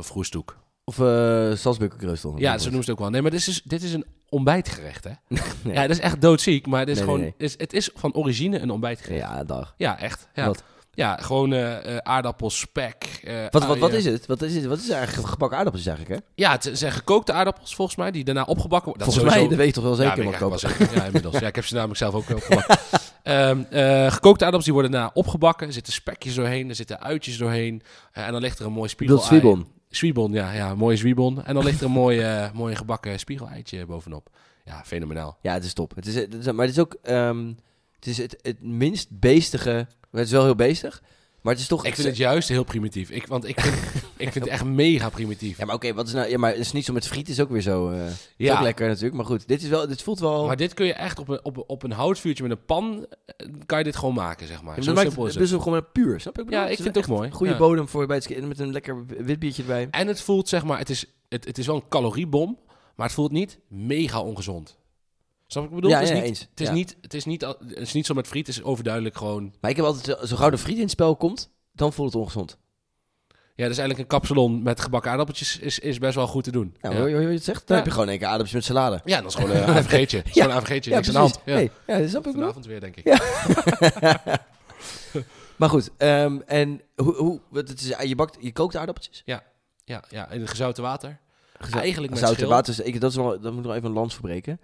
vroestoek.
Of eh Salzburgerkreusel.
Ja, zo noemen ze het ook wel. Nee, maar dit is, dus- dit is een ontbijtgerecht, hè?
Nee.
Ja, dat is echt doodziek, maar het is
Nee, nee,
gewoon,
nee.
het Is, het is van origine een ontbijtgerecht.
Ja, dag.
Ja, echt. Ja,
Wat?
ja gewoon eh eh, aardappels, spek. eh,
Wat, wat, wat
uien.
is het? Wat is het? Wat is eigenlijk gebakken aardappels eigenlijk, hè?
Ja, het zijn gekookte aardappels volgens mij, die daarna opgebakken worden. Dat
Volgens
is
mij, dat
sowieso-
weet je toch wel zeker,
ja,
mag
weet ik
kopen.
eigenlijk wel zeker. Ja, inmiddels. Ja, ik heb ze namelijk zelf ook opgebakken. Ehm, eh, gekookte aardappels die worden daarna opgebakken. Er zitten spekjes doorheen, er zitten uitjes doorheen. Eh, en dan ligt er een mooi
Ik bedoel,
spiegel.
zwiebon.
Zwiebon, ja, ja, een mooie zwiebon. En dan ligt er een mooi, eh, mooi gebakken spiegeleitje bovenop. Ja, fenomenaal.
Ja, het is top. Het is, het is- maar het is ook... ehm, het is het, het minst beestige... Het is wel heel beestig, maar het is toch...
Ik vind het juist heel primitief. Ik, want ik vind, ik vind het echt mega primitief.
Ja, maar oké, wat is nou... Ja, maar een schnitzel met friet is ook weer zo... eh, is
Ja.
ook lekker natuurlijk, maar goed. Dit is wel... Dit voelt wel...
Maar dit kun je echt op een, op, een- op een houtvuurtje met een pan, eh, kan je dit gewoon maken, zeg maar.
Ja, maar
Zo
dat maakt
simpel is
het
het.
best wel gewoon puur, snap je? wat ik? bedoel?
Ja,
Het
ik vind
is
het ook mooi.
een Goede
Ja.
bodem voor bij het ski- met een lekker wit biertje erbij.
En het voelt, zeg maar, het is, het, het is wel een caloriebom, maar het voelt niet mega ongezond. Snap ik wat ik bedoel?
Ja,
het is
ja,
niet,
eens.
Het is,
Ja.
niet, het is niet, al- het is niet zo met friet, het is overduidelijk gewoon...
Maar ik heb altijd, zo- zo gauw de friet in het spel komt, dan voelt het ongezond.
Ja, dus eigenlijk een kapsalon met gebakken aardappeltjes is, is best wel goed te doen.
Nou, hoor,
ja. ja.
je- hoor je wat je het zegt? Dan
Ja.
heb je gewoon een keer aardappels met salade.
dat is gewoon een AVG'tje. Het is gewoon een AVG'tje, niks aan de hand. Ja.
Nee, ja, dat snap ik wel.
Vanavond weer, denk ik.
Ja. maar goed, ehm, en hoe, hoe wat het is, je, bakt, je kookt de aardappeltjes?
Ja, ja, in het gezouten water.
Gezo-
Eigenlijk met
Zout en
schil.
water, is- ik, dat, is wel, dat moet ik nog even een lans verbreken.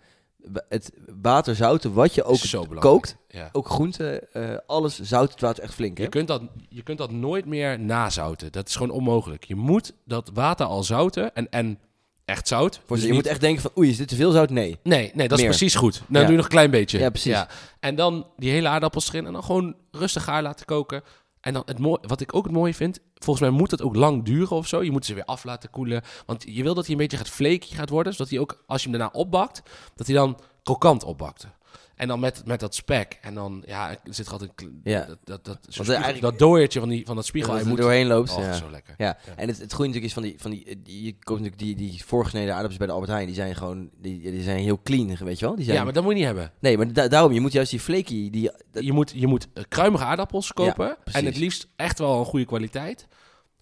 wa- het water zouten, wat je ook
Zo belangrijk.
kookt,
Ja.
ook groenten, eh, alles zout het water echt flink. Hè?
Je, kunt dat, je kunt dat nooit meer nazouten. Dat is gewoon onmogelijk. Je moet dat water al zouten en, en echt zout.
Voor
Dus
je moet
niet-
echt denken van, oei, is dit te veel zout? Nee.
Nee, nee, dat
Meer.
is precies goed. Nou, doe je nog een klein beetje.
Ja, precies.
En dan die hele aardappels erin en dan gewoon rustig gaar laten koken. En dan het mooi, wat ik ook het mooie vind, volgens mij moet het ook lang duren of zo. Je moet ze weer af laten koelen. Want je wil dat hij een beetje gaat flaky gaat worden. Zodat hij ook, als je hem daarna opbakt, dat hij dan krokant opbakt. En dan met, met dat spek. En dan, ja, er zit altijd een... kle-
Ja.
Dat, dat, dat, zo'n
Want eh,
spiegel-
eigenlijk-
dat dooiertje van, die, van dat spiegel.
Dat
Hij
het er
moet,
doorheen loopt.
oh,
ja.
zo lekker.
Ja.
Ja.
en het, het groeit natuurlijk is van die, van die, die je koopt natuurlijk die, die voorgesneden aardappels bij de Albert Heijn, die zijn gewoon, die, die zijn heel clean, weet je wel? Die zijn,
Ja, maar dat moet je niet hebben.
Nee, maar da- daarom, je moet juist die flaky, die, dat-
je, moet, je moet eh, kruimige aardappels kopen.
precies.
en het liefst echt wel een goede kwaliteit.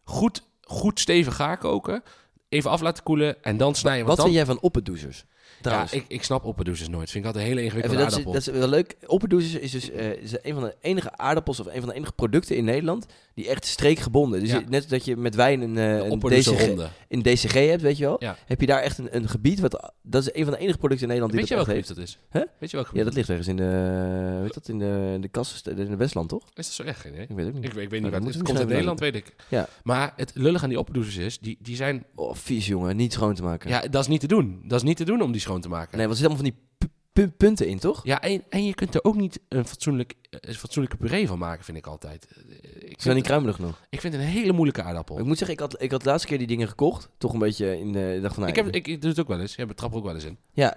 Goed, goed stevig gaar koken. Even af laten koelen en dan snijden.
wat
Want
vind
dan,
jij van oppendoezers? Trouwens,
Ja, ik, ik snap opperdoezes nooit. Vind ik altijd een hele ingewikkelde
Even, dat, is,
aardappel.
dat is wel leuk. Opperdoezers is dus eh, is een van de enige aardappels of een van de enige producten in Nederland die echt streekgebonden. Dus
Ja.
je- net als dat je met wijn een, eh, een, DCG,
ronde.
een DCG hebt, weet je wel,
Ja.
heb je daar echt een, een gebied wat dat is een van de enige producten in Nederland
Weet je
die dat
welk
echt
gebied
heeft.
dat is?
Hè?
Weet je welk
Ja,
gebied?
dat ligt ergens in de, hoe heet dat in de, de kast in de Westland, toch?
Is dat zo echt geen idee?
Ik weet het ook niet.
Ik, ik weet
dat
niet waar het
moet
is.
ik
Het komt uit
misschien
Nederland, weet ik.
Ja.
Maar het lullige aan die opperdoezes is, die, die zijn...
Oh, vies jongen, niet schoon te maken.
Ja, dat is niet te doen. Dat is niet te doen om die schoon te maken.
Nee, want er zitten allemaal van die pu- pu- punten in, toch?
Ja, en, en je kunt er ook niet een, fatsoenlijk, eh, een fatsoenlijke puree van maken, vind ik altijd. Eh, Ik
Ze zijn
vind,
niet kruimelig nog.
ik vind het een hele moeilijke aardappel.
Ik moet zeggen, ik had, ik had de laatste keer die dingen gekocht. Toch een beetje in de... Ik dacht van, nou,
ik, heb, ik, ik doe het ook wel eens. Ja, betrap er ook wel eens in.
Ja.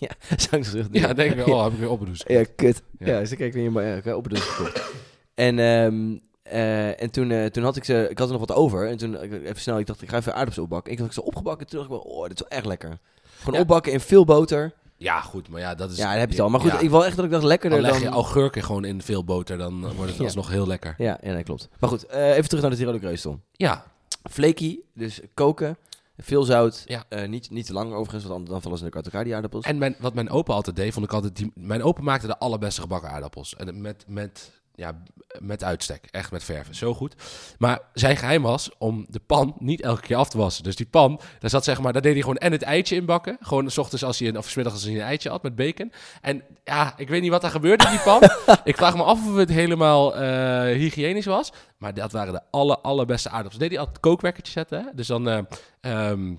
Ja. zou ik zo terug doen?
Ja, denk ik wel. Oh, heb ik weer opgedoezeld.
Ja, kut. Ja,
Ja.
dus ik kijk weer maar ja, ik heb op de gekocht. En, ehm, eh, en toen, eh, toen had ik ze, ik had er nog wat over. En toen, ik, even snel, ik dacht, ik ga even aardappels opbakken. Ik had ze opgebakken, toen dacht ik wel, oh, dit is wel echt lekker. Gewoon
Ja.
opbakken in veel boter.
Ja, goed. Maar ja, dat is...
ja, dan heb je het al. Maar goed,
ja.
ik wil echt dat ik dacht, lekkerder
Dan leg je
dan...
augurken gewoon in veel boter, dan wordt het
Ja.
alsnog heel lekker.
Ja, ja nee, klopt. Maar goed, eh, even terug naar de Tirol Kreustel.
Ja,
Flaky, dus koken, veel zout.
Ja.
Eh, niet, niet te lang overigens, want anders- dan vallen ze natuurlijk uit elkaar, die aardappels.
en mijn, wat mijn opa altijd deed, vond ik altijd... Die, mijn opa maakte de allerbeste gebakken aardappels. En met, met, ja, met uitstek. Echt met verven. Zo goed. Maar zijn geheim was om de pan niet elke keer af te wassen. Dus die pan, daar zat zeg maar... Daar deed hij gewoon en het eitje in bakken. Gewoon s ochtends als hij... een- Of 's middags als hij een eitje had met bacon. En ja, ik weet niet wat er gebeurde in die pan. ik vraag me af of het helemaal eh, hygiënisch was. Maar dat waren de alle, allerbeste aardappels. Deed hij altijd kookwekkertje zetten. hè? Dus dan eh, ehm,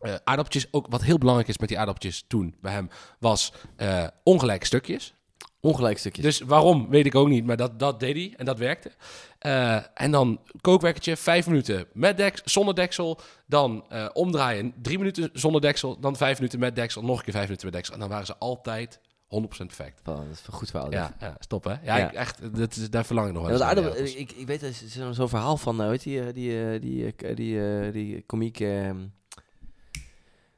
eh, aardappeltjes. Ook wat heel belangrijk is met die aardappeltjes toen bij hem, was eh ongelijke stukjes.
Ongelijk stukjes.
Dus waarom, weet ik ook niet. Maar dat, dat deed hij en dat werkte. Eh, en dan kookwekkertje, vijf minuten met deks, zonder deksel. Dan eh, omdraaien, drie minuten zonder deksel. Dan vijf minuten met deksel, nog een keer vijf minuten met deksel. En dan waren ze altijd 100% perfect.
Van, Oh, dat is een goed verhaal.
Ja, ja, stop hè. Ja,
Ja.
ik- echt, dat is, daar verlang ik nog wel
Ja, want
eens naar,
aardappel-
die aardappels.
ik, ik weet dat is zo'n zo'n verhaal van, eh, hoe heet die, eh, die, eh, die, eh, die, eh, die komiek, ehm,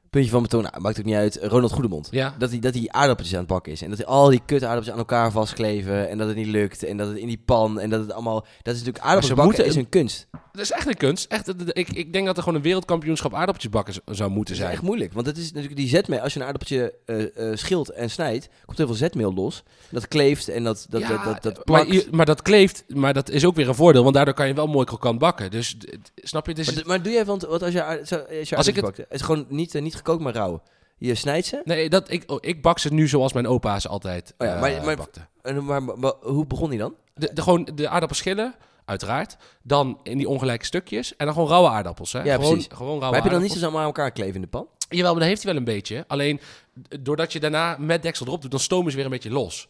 puntje van betoon, nou, maakt ook niet uit, Ronald Goedemond.
Ja,
Dat hij, dat hij aardappeltjes aan het bakken is. En dat hij al die kut aardappeltjes aan elkaar vastkleven. En dat het niet lukt. En dat het in die pan. En dat het allemaal... Dat is natuurlijk aardappels
ze
bakken
moeten-
is een kunst.
dat is echt een kunst. Echt, dat- dat- ik, ik denk dat er gewoon een wereldkampioenschap aardappeltjes bakken z- zou moeten
Dat is
zijn.
echt moeilijk. Want dat is natuurlijk die zetmeel. Als je een aardappeltje eh, eh, schilt en snijdt, komt heel veel zetmeel los. Dat kleeft en dat, dat,
Ja, eh,
dat, dat, dat
maar,
plakt.
je- maar dat kleeft, maar dat is ook weer een voordeel, want daardoor kan je wel mooi krokant bakken. Dus d- d- snap je, dit
Maar,
is,
d- maar doe jij, want, want als je, aard- zou- als je
Als ik
aardappeltjes bakt, het is gewoon niet, eh, niet gekookt, maar rauw. Je snijdt ze.
nee, dat, ik, oh, ik bak ze nu zoals mijn opa ze altijd
Oh ja,
eh,
maar- maar-
bakte.
En, maar, maar- maar hoe begon hij dan?
De, de- gewoon de aardappels schillen, uiteraard, dan in die ongelijke stukjes en dan gewoon rauwe aardappels. Hè?
Ja,
gewoon,
precies.
Gewoon rauwe
maar heb je dan
aardappels.
niet zo allemaal aan elkaar kleven in de pan?
Jawel, maar dat heeft hij wel een beetje. Alleen, d- doordat je daarna met deksel erop doet, dan stomen ze weer een beetje los.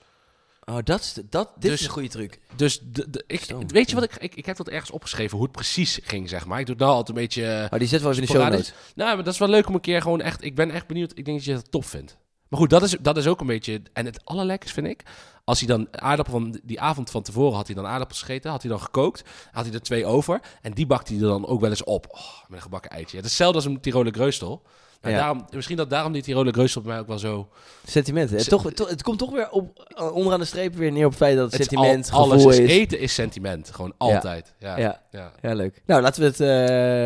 Oh, dat is, de- dat, dit
Dus-
is een goede truc.
Dus de, de- ik,
Zo.
weet je wat ik, ik... Ik heb dat ergens opgeschreven, hoe het precies ging, zeg maar. Ik doe het nou altijd een beetje... eh,
Oh, die zet wel even in de show
sporadisch.
notes.
Nou, maar dat is wel leuk om een keer gewoon echt... Ik ben echt benieuwd. Ik denk dat je dat top vindt. Maar goed, dat is, dat is ook een beetje... En het allerlekkers vind ik... Als hij dan aardappel van die avond van tevoren had hij dan aardappels gegeten, had hij dan gekookt, had hij er twee over en die bakte hij er dan ook wel eens op. Oh, met een gebakken eitje. Het is hetzelfde als een Tiroler Greustel. Nou,
Ja.
daarom, misschien dat daarom die Tiroler Greustel bij mij ook wel zo.
Sentimenten. hè?
Se-
Toch, toch- het komt toch weer op, eh, onderaan de streep weer neer op het feit dat het,
Het is al-
sentiment,
alles
gevoel
is,
is.
eten is sentiment, gewoon altijd. Ja. Ja.
Ja. ja, leuk. Nou, laten we het... eh,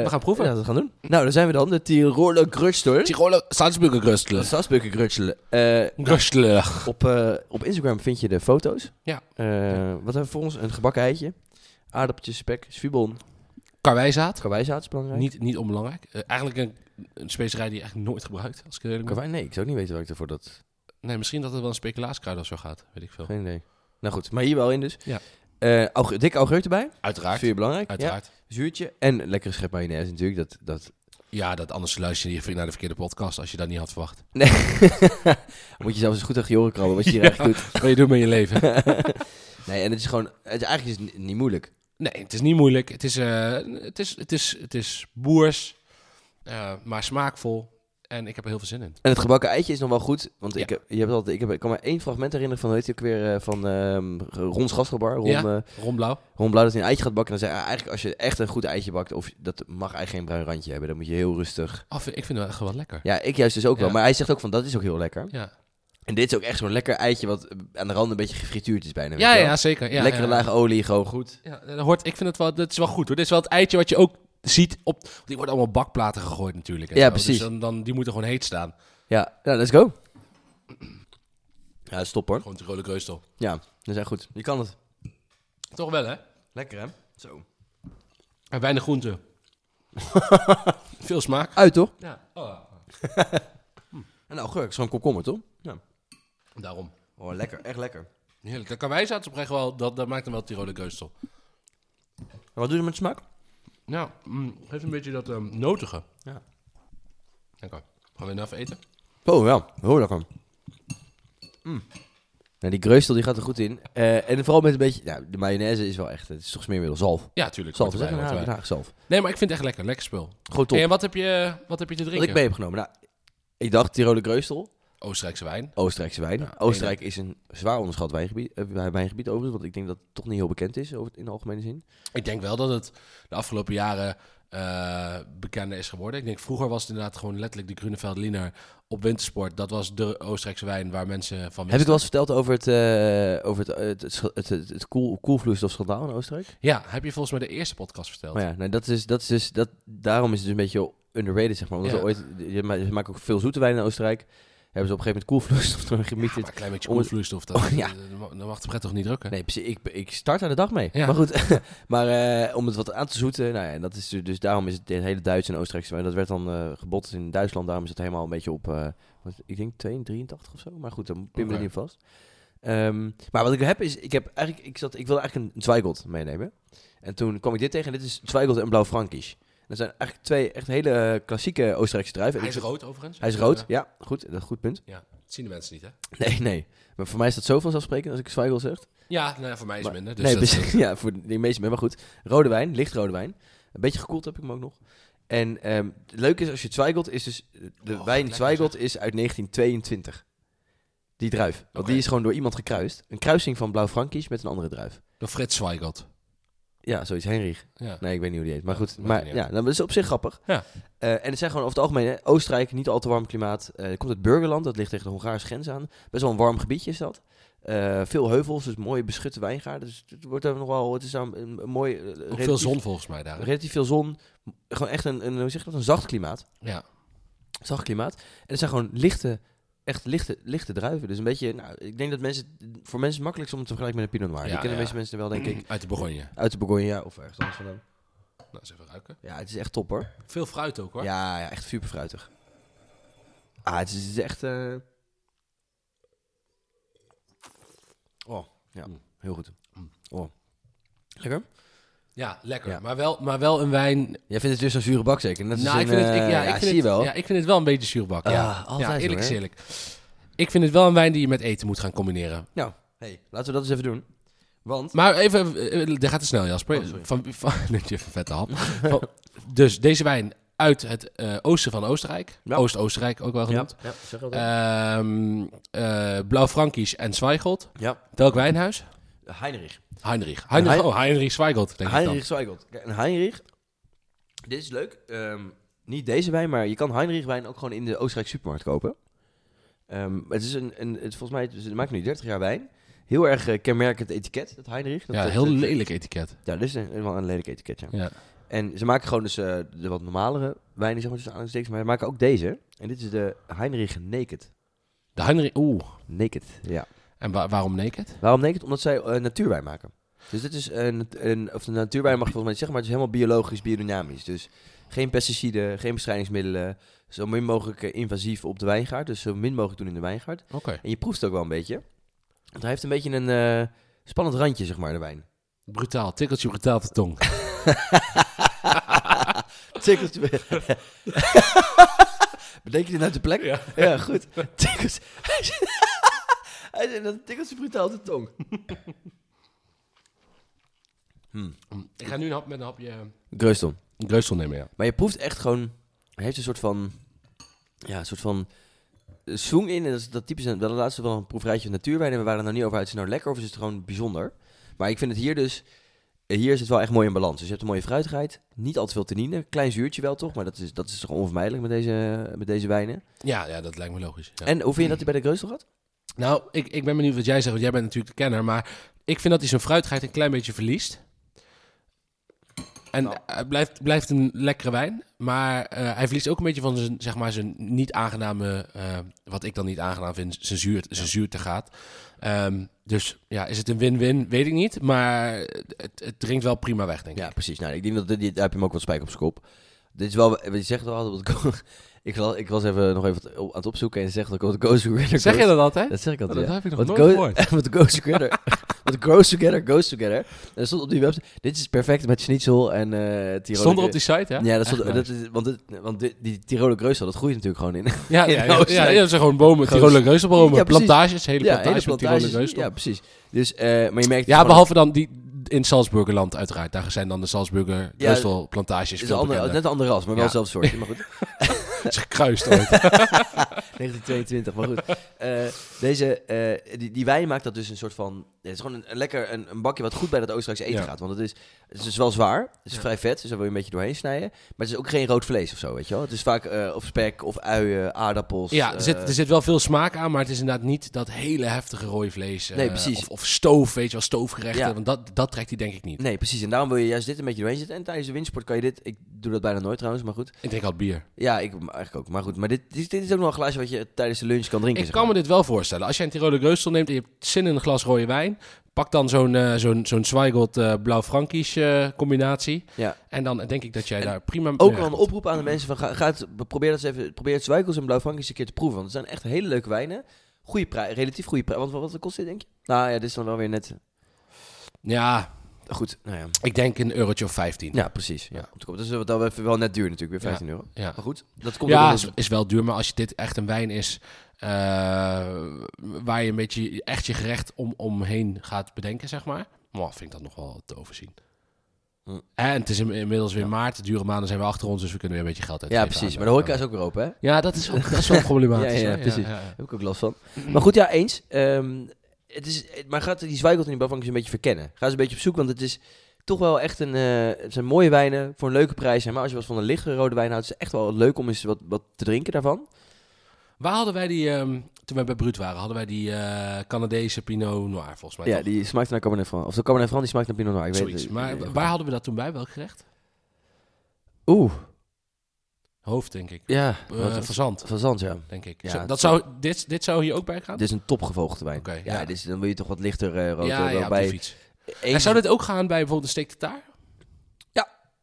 We gaan proeven.
ja, laten we het gaan doen. Nou, daar zijn we dan. De Tiroler Grutstler.
Tiroler Salzburger Greustel.
Strasburger Grutstler. Eh,
Greustel.
op, eh, op Instagram vind je de foto's.
Ja.
Eh, Wat hebben we voor ons? Een gebakken eitje. Aardappeltjes, spek, zwiebel,
Karwijzaad.
Karwijzaad is belangrijk.
Niet, niet onbelangrijk. Eh, eigenlijk een, een specerij die je eigenlijk nooit gebruikt. Als ik het eerlijk ben.
Karwei? Nee, ik zou ook niet weten waar ik ervoor dat...
Nee, misschien dat het wel een speculaaskruid of zo gaat. Weet ik veel.
Geen idee. Nou goed, maar hier wel in dus.
Ja.
Eh, auge- dikke augurk erbij. Dat
Uiteraard.
vind je belangrijk. Ja.
Uiteraard.
Zuurtje. En lekkere schep mayonaise natuurlijk. Dat, dat...
Ja. dat anders luister je hier naar de verkeerde podcast als je dat niet had verwacht.
Nee. Moet je zelfs eens goed tegen je oren krabben wat je hier
Ja.
eigenlijk doet.
Wat je doet met je leven.
nee, en het is gewoon... Het, eigenlijk is het ni- niet moeilijk.
Nee, het is niet moeilijk. Het is, eh, het is, het is, het is boers, eh, maar smaakvol. En ik heb er heel veel zin in.
En het gebakken eitje is nog wel goed. Want
Ja.
ik, heb, je hebt altijd, ik, heb, ik kan me één fragment herinneren van... Weet je ook weer? eh, Van ehm Ron Schasselbar. Ron,
Ja.
eh,
Romblauw.
Ron Blauw dat hij een eitje gaat bakken. En dan zei hij, "Ah, eigenlijk als je echt een goed eitje bakt... Of dat mag eigenlijk geen bruin randje hebben. Dan moet je heel rustig...
Ah, vind- ik vind het echt wel lekker.
Ja, ik juist dus ook wel.
Ja.
Maar hij zegt ook van, dat is ook heel lekker.
Ja,
En dit is ook echt zo'n lekker eitje wat eh, aan de rand een beetje gefrituurd is bijna. weet
ja,
je wel.
ja, zeker. Ja,
Lekkere
ja.
laag olie, gewoon goed.
Ja, dat hoort, ik vind het wel, dat is wel goed hoor. Dit is wel het eitje wat je ook ziet op, want die worden allemaal bakplaten gegooid natuurlijk. en
Ja,
zo.
precies.
Dus dan, dan, die moeten gewoon heet staan.
Ja, nou, let's go. Ja, stop hoor.
Gewoon te rode kreustel.
Ja, dat is echt goed. Je kan het.
Toch wel hè?
Lekker hè? Zo.
En weinig groente. Veel smaak.
Uit toch?
Ja, oh,
En nou, geur, is gewoon komkommer toch? Ja.
daarom.
Oh, lekker. Echt lekker.
Heerlijk. De karwijzaad is oprecht wel, dat, dat maakt hem wel Tiroler kreustel.
En wat doe je met de smaak?
Ja, mm, heeft een beetje dat ehm, notige.
Ja.
Lekker. Gaan we nou even eten?
Oh ja, heel lekker. Nou, die greustel die gaat er goed in. Eh, en vooral met een beetje... Ja, de mayonaise is wel echt... Het is toch smeermiddel. Zalf.
Ja, tuurlijk.
Zalf,
hoort
zeg
erbij,
maar.
hoort
Den
erbij.
Haag zalf.
Nee, maar ik vind het echt lekker. Lekker spul.
Gewoon top.
Hey, en wat heb, je, wat heb je te
Wat ik
drinken?
mee heb genomen. Nou, ik dacht Tiroler greustel.
Oostenrijkse wijn.
Oostenrijkse wijn.
Ja,
Oostenrijk is een zwaar onderschat wijngebied, eh, wij- wijngebied overigens, want ik denk dat het toch niet heel bekend is over, in de algemene zin.
Ik denk wel dat het de afgelopen jaren eh, bekender is geworden. Ik denk vroeger was het inderdaad gewoon letterlijk de Grunewaldliner op wintersport. Dat was de Oostenrijkse wijn waar mensen van
Heb ik wel eens verteld over het, eh, over het, eh, het, het, het, het, het koel- koelvloeistof schandaal in Oostenrijk?
Ja, heb je volgens mij de eerste podcast verteld.
Maar Oh ja, nee, dat is, dat is dus, dat, daarom is het dus een beetje underrated, zeg maar. Omdat
Ja.
ze ooit, je ma- ze maken ook veel zoete wijn in Oostenrijk. Hebben ze op een gegeven moment koelvloeistof
Ja,
doorgemieterd.
maar een klein beetje
Om het-
koelvloeistof. Dat,
Oh, ja.
Dan mag de pret toch niet drukken?
Nee, precies. Ik, ik start aan de dag mee.
Ja.
Maar goed, maar eh, om het wat aan te zoeten. Nou ja, en dat is dus, dus daarom is het de hele Duits en Oostenrijkse wijn. Dat werd dan eh gebotst in Duitsland. Daarom is het helemaal een beetje op, eh, wat, ik denk 2, 83 of zo. Maar goed, dan pin me
Oké.
er niet op vast. Ehm, maar wat ik heb is, ik, heb eigenlijk, ik, zat, ik wilde eigenlijk een Zweigelt meenemen. En toen kwam ik dit tegen en dit is Zweigelt en Blauw Frankisch. En Dat zijn eigenlijk twee echt hele eh, klassieke Oostenrijkse druiven. En
Hij is
ik-
rood overigens.
Hij is rood, ja. Goed, dat is een goed punt.
Ja, dat zien de mensen niet hè?
Nee, nee. Maar voor mij is dat zo vanzelfsprekend als ik Zweigelt zeg.
Ja, nou, ja, voor mij is het
Maar-
minder. Dus
nee,
dat-
precies. ja, voor de meeste mensen. Maar goed, rode wijn, licht rode wijn. Een beetje gekoeld heb ik hem ook nog. En ehm, het leuke is, als je Zweigelt, is dus... De
Oh,
wijn
lekker
Zweigelt is uit 1922. Die druif. Want
Oké.
die is gewoon door iemand gekruist. Een kruising van Blauw Frankisch met een andere druif.
Door Frits Zweigelt.
Ja, zoiets. Henrich.
Ja.
Nee, ik weet niet hoe die heet. Maar goed,
maakt
maar,
niet
ja,
uit.
nou, dat is op zich grappig.
Ja.
Eh, en het zijn gewoon over het algemeen... Hè, Oostenrijk, niet al te warm klimaat. Eh, het komt uit Burgerland, dat ligt tegen de Hongaarse grens aan. Best wel een warm gebiedje is dat. Eh, veel heuvels, dus mooie beschutte wijngaarden. Dus het wordt er nog wel... Het is nou een, een mooi... eh,
Ook veel
relatief-
zon volgens mij daar. hè?
relatief veel zon. Gewoon echt een, een hoe zeg je dat, een zacht klimaat.
Ja.
Zacht klimaat. En het zijn gewoon lichte, echt lichte, lichte druiven. Dus een beetje, nou, ik denk dat mensen, voor mensen het makkelijkst om het te vergelijken met een Pinot Noir.
Ja,
Die kennen de
ja.
meeste mensen wel, denk ik.
Uit de Bourgogne.
Uit de Bourgogne of ergens anders vandaan.
Nou, eens even ruiken.
Ja, het is echt top hoor.
Veel fruit ook hoor.
Ja, ja, echt super fruitig. Ah, het is, het is echt... eh, Oh, ja.
Mm.
Heel goed.
Mm.
Oh. Lekker.
Ja, lekker.
Ja.
Maar, wel, maar wel een wijn.
Jij vindt het dus een zure bak zeker? Net als
Nou, ik
een,
vind het, ik,
eh,
ja, ik vind
zie
het,
je wel.
Ja, ik vind het wel een beetje zuurbak. ja.
Ah, altijd
ja, eerlijk
hoor.
is eerlijk. Ik vind het wel een wijn die je met eten moet gaan combineren.
Nou, hey, laten we dat eens even doen. Want...
Maar even, eh, eh, dit gaat te snel Jasper.
Oh, sorry.
van, van, neemt je even een vette hap. Van- dus deze wijn uit het eh, oosten van Oostenrijk.
Ja.
Oost-Oostenrijk ook wel genoemd.
Ja, zeg dat.
Eh. Ehm, eh, Blauw Frankisch en Zweigelt.
Ja.
Welk wijnhuis?
Heinrich.
Heinrich. Heinrich,
Hein-
oh, Heinrich Zweigelt. Denk ik dan.
Heinrich Zweigelt. Kijk, En Heinrich, dit is leuk. Ehm, niet deze wijn, maar je kan Heinrich wijn ook gewoon in de Oostenrijkse supermarkt kopen. Ehm, het is een, een het, volgens mij, het, is- het maakt nu 30 jaar wijn. Heel erg eh, kenmerkend etiket, dat Heinrich. Dat,
Ja,
dat-
heel
dat-
lelijk etiket.
Ja, dit is een, wel een lelijk etiket, ja.
Ja.
En ze maken gewoon dus eh, de wat normalere wijnen, zeg maar, tussen aanhalingstekens. Maar ze maken ook deze. En dit is de Heinrich Naked.
De Heinrich... Oeh.
Naked, ja.
En wa- waarom naked?
Waarom naked? Omdat zij eh, natuurwijn maken. Dus dit is een, een of de natuurwijn mag ik volgens mij niet zeggen, maar het is helemaal biologisch, biodynamisch. Dus geen pesticiden, geen bestrijdingsmiddelen, zo min mogelijk eh, invasief op de wijngaard. Dus zo min mogelijk doen in de wijngaard.
Oké.
En je proeft het ook wel een beetje. Want hij heeft een beetje een eh, spannend randje, zeg maar, de wijn.
Brutaal. Tikkeltje brutaal op de tong.
Tikkels. Bedenk je dit uit de plek? Ja, goed. Tikkels. Hij zei dat tikkels brutaal op de tong. Hmm.
Ik ga nu een hap met een hapje eh,
Greusdom.
greusel nemen, ja.
Maar je proeft echt gewoon... Hij heeft een soort van... Ja, een soort van... eh, Swing in. En dat, is, dat typisch... Wel de laatste wel een proefrijtje van natuurwijn. En we waren er nou niet over uit. Is het nou lekker of is het gewoon bijzonder? Maar ik vind het hier dus... eh, Hier is het wel echt mooi in balans. Dus je hebt een mooie fruitigheid. Niet al te veel tannine. Klein zuurtje wel toch? Maar dat is, dat is toch onvermijdelijk met deze, met deze wijnen.
Ja, ja dat lijkt me logisch. ja.
En hoe vind je dat hij bij de Greusel gaat?
Nou, ik, ik ben benieuwd wat jij zegt, want jij bent natuurlijk de kenner. Maar ik vind dat hij zijn fruitigheid een klein beetje verliest. En
Nou.
hij blijft, blijft een lekkere wijn. Maar eh, hij verliest ook een beetje van zijn, zeg maar, zijn niet aangename... eh, wat ik dan niet aangenaam vind, zijn, zuur, zijn zuurte gaat. Ehm, dus ja, is het een win-win? Weet ik niet. Maar het, het drinkt wel prima weg, denk ik.
Ja, precies. Nou, ik denk dat dit, dit- daar heb je hem ook wat spijk op zijn kop. Dit is wel, wat je zegt wel altijd, wat ik, ik, was- ik was even nog even wat op- aan het opzoeken en ze zegt dat ik wat go together
Zeg
goes-
je dat altijd?
Dat zeg ik altijd,
Oh, dat
ja.
heb ik nog
Wat
nooit
go-
gehoord.
Wat goes together, wat goes together, goes together. En er stond op die website, dit is perfect met schnitzel en eh Tiroler.
Stond er op die site, ja?
Ja, dat stond,
Echt
dat is, want, dit, want dit- die Tiroler Greusel, dat groeit natuurlijk gewoon in.
Ja, ja,
Ja,
ja,
dat
ja,
is-
ja, dat zijn gewoon bomen,
Goos.
Tiroler reuzenbomen,
Ja, precies.
plantages, hele
ja,
plantages met Tiroler
plantages.
reuzenbomen.
Ja, precies. Dus, eh, maar je merkt...
Ja,
gewoon-
behalve dan die in Salzburgerland uiteraard. Daar zijn dan de Salzburger
Ja,
Bristol plantages
Het is een ander, net een ander ras, maar wel
Ja.
zelfs soort. Maar goed.
Het is gekruist ooit.
1922, maar goed. Eh, deze, eh, die, die wijn maakt dat dus een soort van... Het is gewoon een, een lekker een, een bakje wat goed bij dat Oostenrijkse eten
Ja.
gaat. Want het is, het is dus wel zwaar, het is
Ja.
vrij vet, dus daar wil je een beetje doorheen snijden. Maar het is ook geen rood vlees of zo, weet je wel. Het is vaak eh, of spek of uien, aardappels.
ja, er
eh,
zit, er zit wel veel smaak aan, maar het is inderdaad niet dat hele heftige rooie vlees. eh,
Nee, precies.
Of, of stoof, weet je wel, stoofgerechten.
Ja.
Want dat, dat trekt hij denk ik niet.
Nee, precies. En daarom wil je juist dit een beetje doorheen zitten. En tijdens de windsport kan je dit... Ik doe dat bijna nooit trouwens, maar goed.
Ik drink altijd bier.
Ja, ik eigenlijk ook. Maar goed, maar dit, dit, dit is ook nog een glaasje wat je tijdens de lunch kan drinken.
Ik
zeg
kan me
maar.
dit wel voorstellen. Als jij een Tiroler Geusel neemt en je hebt zin in een glas rode wijn... pak dan zo'n eh, zo'n zo'n Zweigelt eh, blauw-frankisch eh, combinatie.
Ja.
En dan denk ik dat jij
En
daar prima...
Ook
mee
al een
wegkomt.
oproep aan de mensen van ga, ga het, probeer dat eens even, probeer het Zwijkels en Blauw Frankies een keer te proeven. Want het zijn echt hele leuke wijnen. Goeie prijs, relatief goede prijs. Want wat, wat kost dit denk je? Nou ja, dit is dan wel weer net
Ja,
goed. Nou ja.
ik denk een eurotje of 15.
ja, precies. Ja. Om te komen. dus Dat is wat dat even wel net duur natuurlijk, weer 15 euro.
ja.
Maar goed, dat komt
Ja,
ook
is,
omdat-
is wel duur, maar als je dit echt een wijn is eh, waar je een beetje echt je gerecht om, omheen gaat bedenken, zeg maar. Maar vind ik dat nog wel te overzien. Eh,
Hm.
En het is in- inmiddels weer maart, de dure maanden zijn we achter ons, dus we kunnen weer een beetje geld uitgeven.
Ja, precies.
aan-
Maar de horeca
aan-
is ook weer open, hè?
Ja, dat is, ook, dat is wel problematisch.
Ja, ja,
hoor.
precies. Heb ik ook last van.
Mm-hmm.
Maar goed, ja, eens. Ehm, het is, het- maar gaat die Zwijgelt en die Blauwvankers een beetje verkennen? Ga ze een beetje op zoek, want het is toch wel echt een... eh, het zijn mooie wijnen voor een leuke prijs. Maar als je wat van een lichtere rode wijn houdt, is het echt wel leuk om eens wat, wat te drinken daarvan.
Waar hadden wij die, ehm, toen wij bij Brut waren, hadden wij die eh Canadese Pinot Noir volgens mij.
Ja,
toch?
die smaakt naar Cabernet Franc. Of de Cabernet Franc, die smaakt naar Pinot Noir. Ik weet
Zoiets.
het
Maar
eh,
waar hadden we dat toen bij? Welk gerecht?
Oeh,
Hoofd, denk ik.
ja.
Eh
wat-
verzand,
van Zand, ja.
denk ik.
Ja,
Zo-
het
dat
zou-
zou, dit, dit zou hier ook bij gaan?
Dit is een topgevogelte wijn.
Oké,
ja,
ja.
Dit is, dan wil je toch wat lichter eh rood.
ja,
wel
ja, op de
bij
fiets.
één-
En zou dit ook gaan bij bijvoorbeeld een steek tartaar?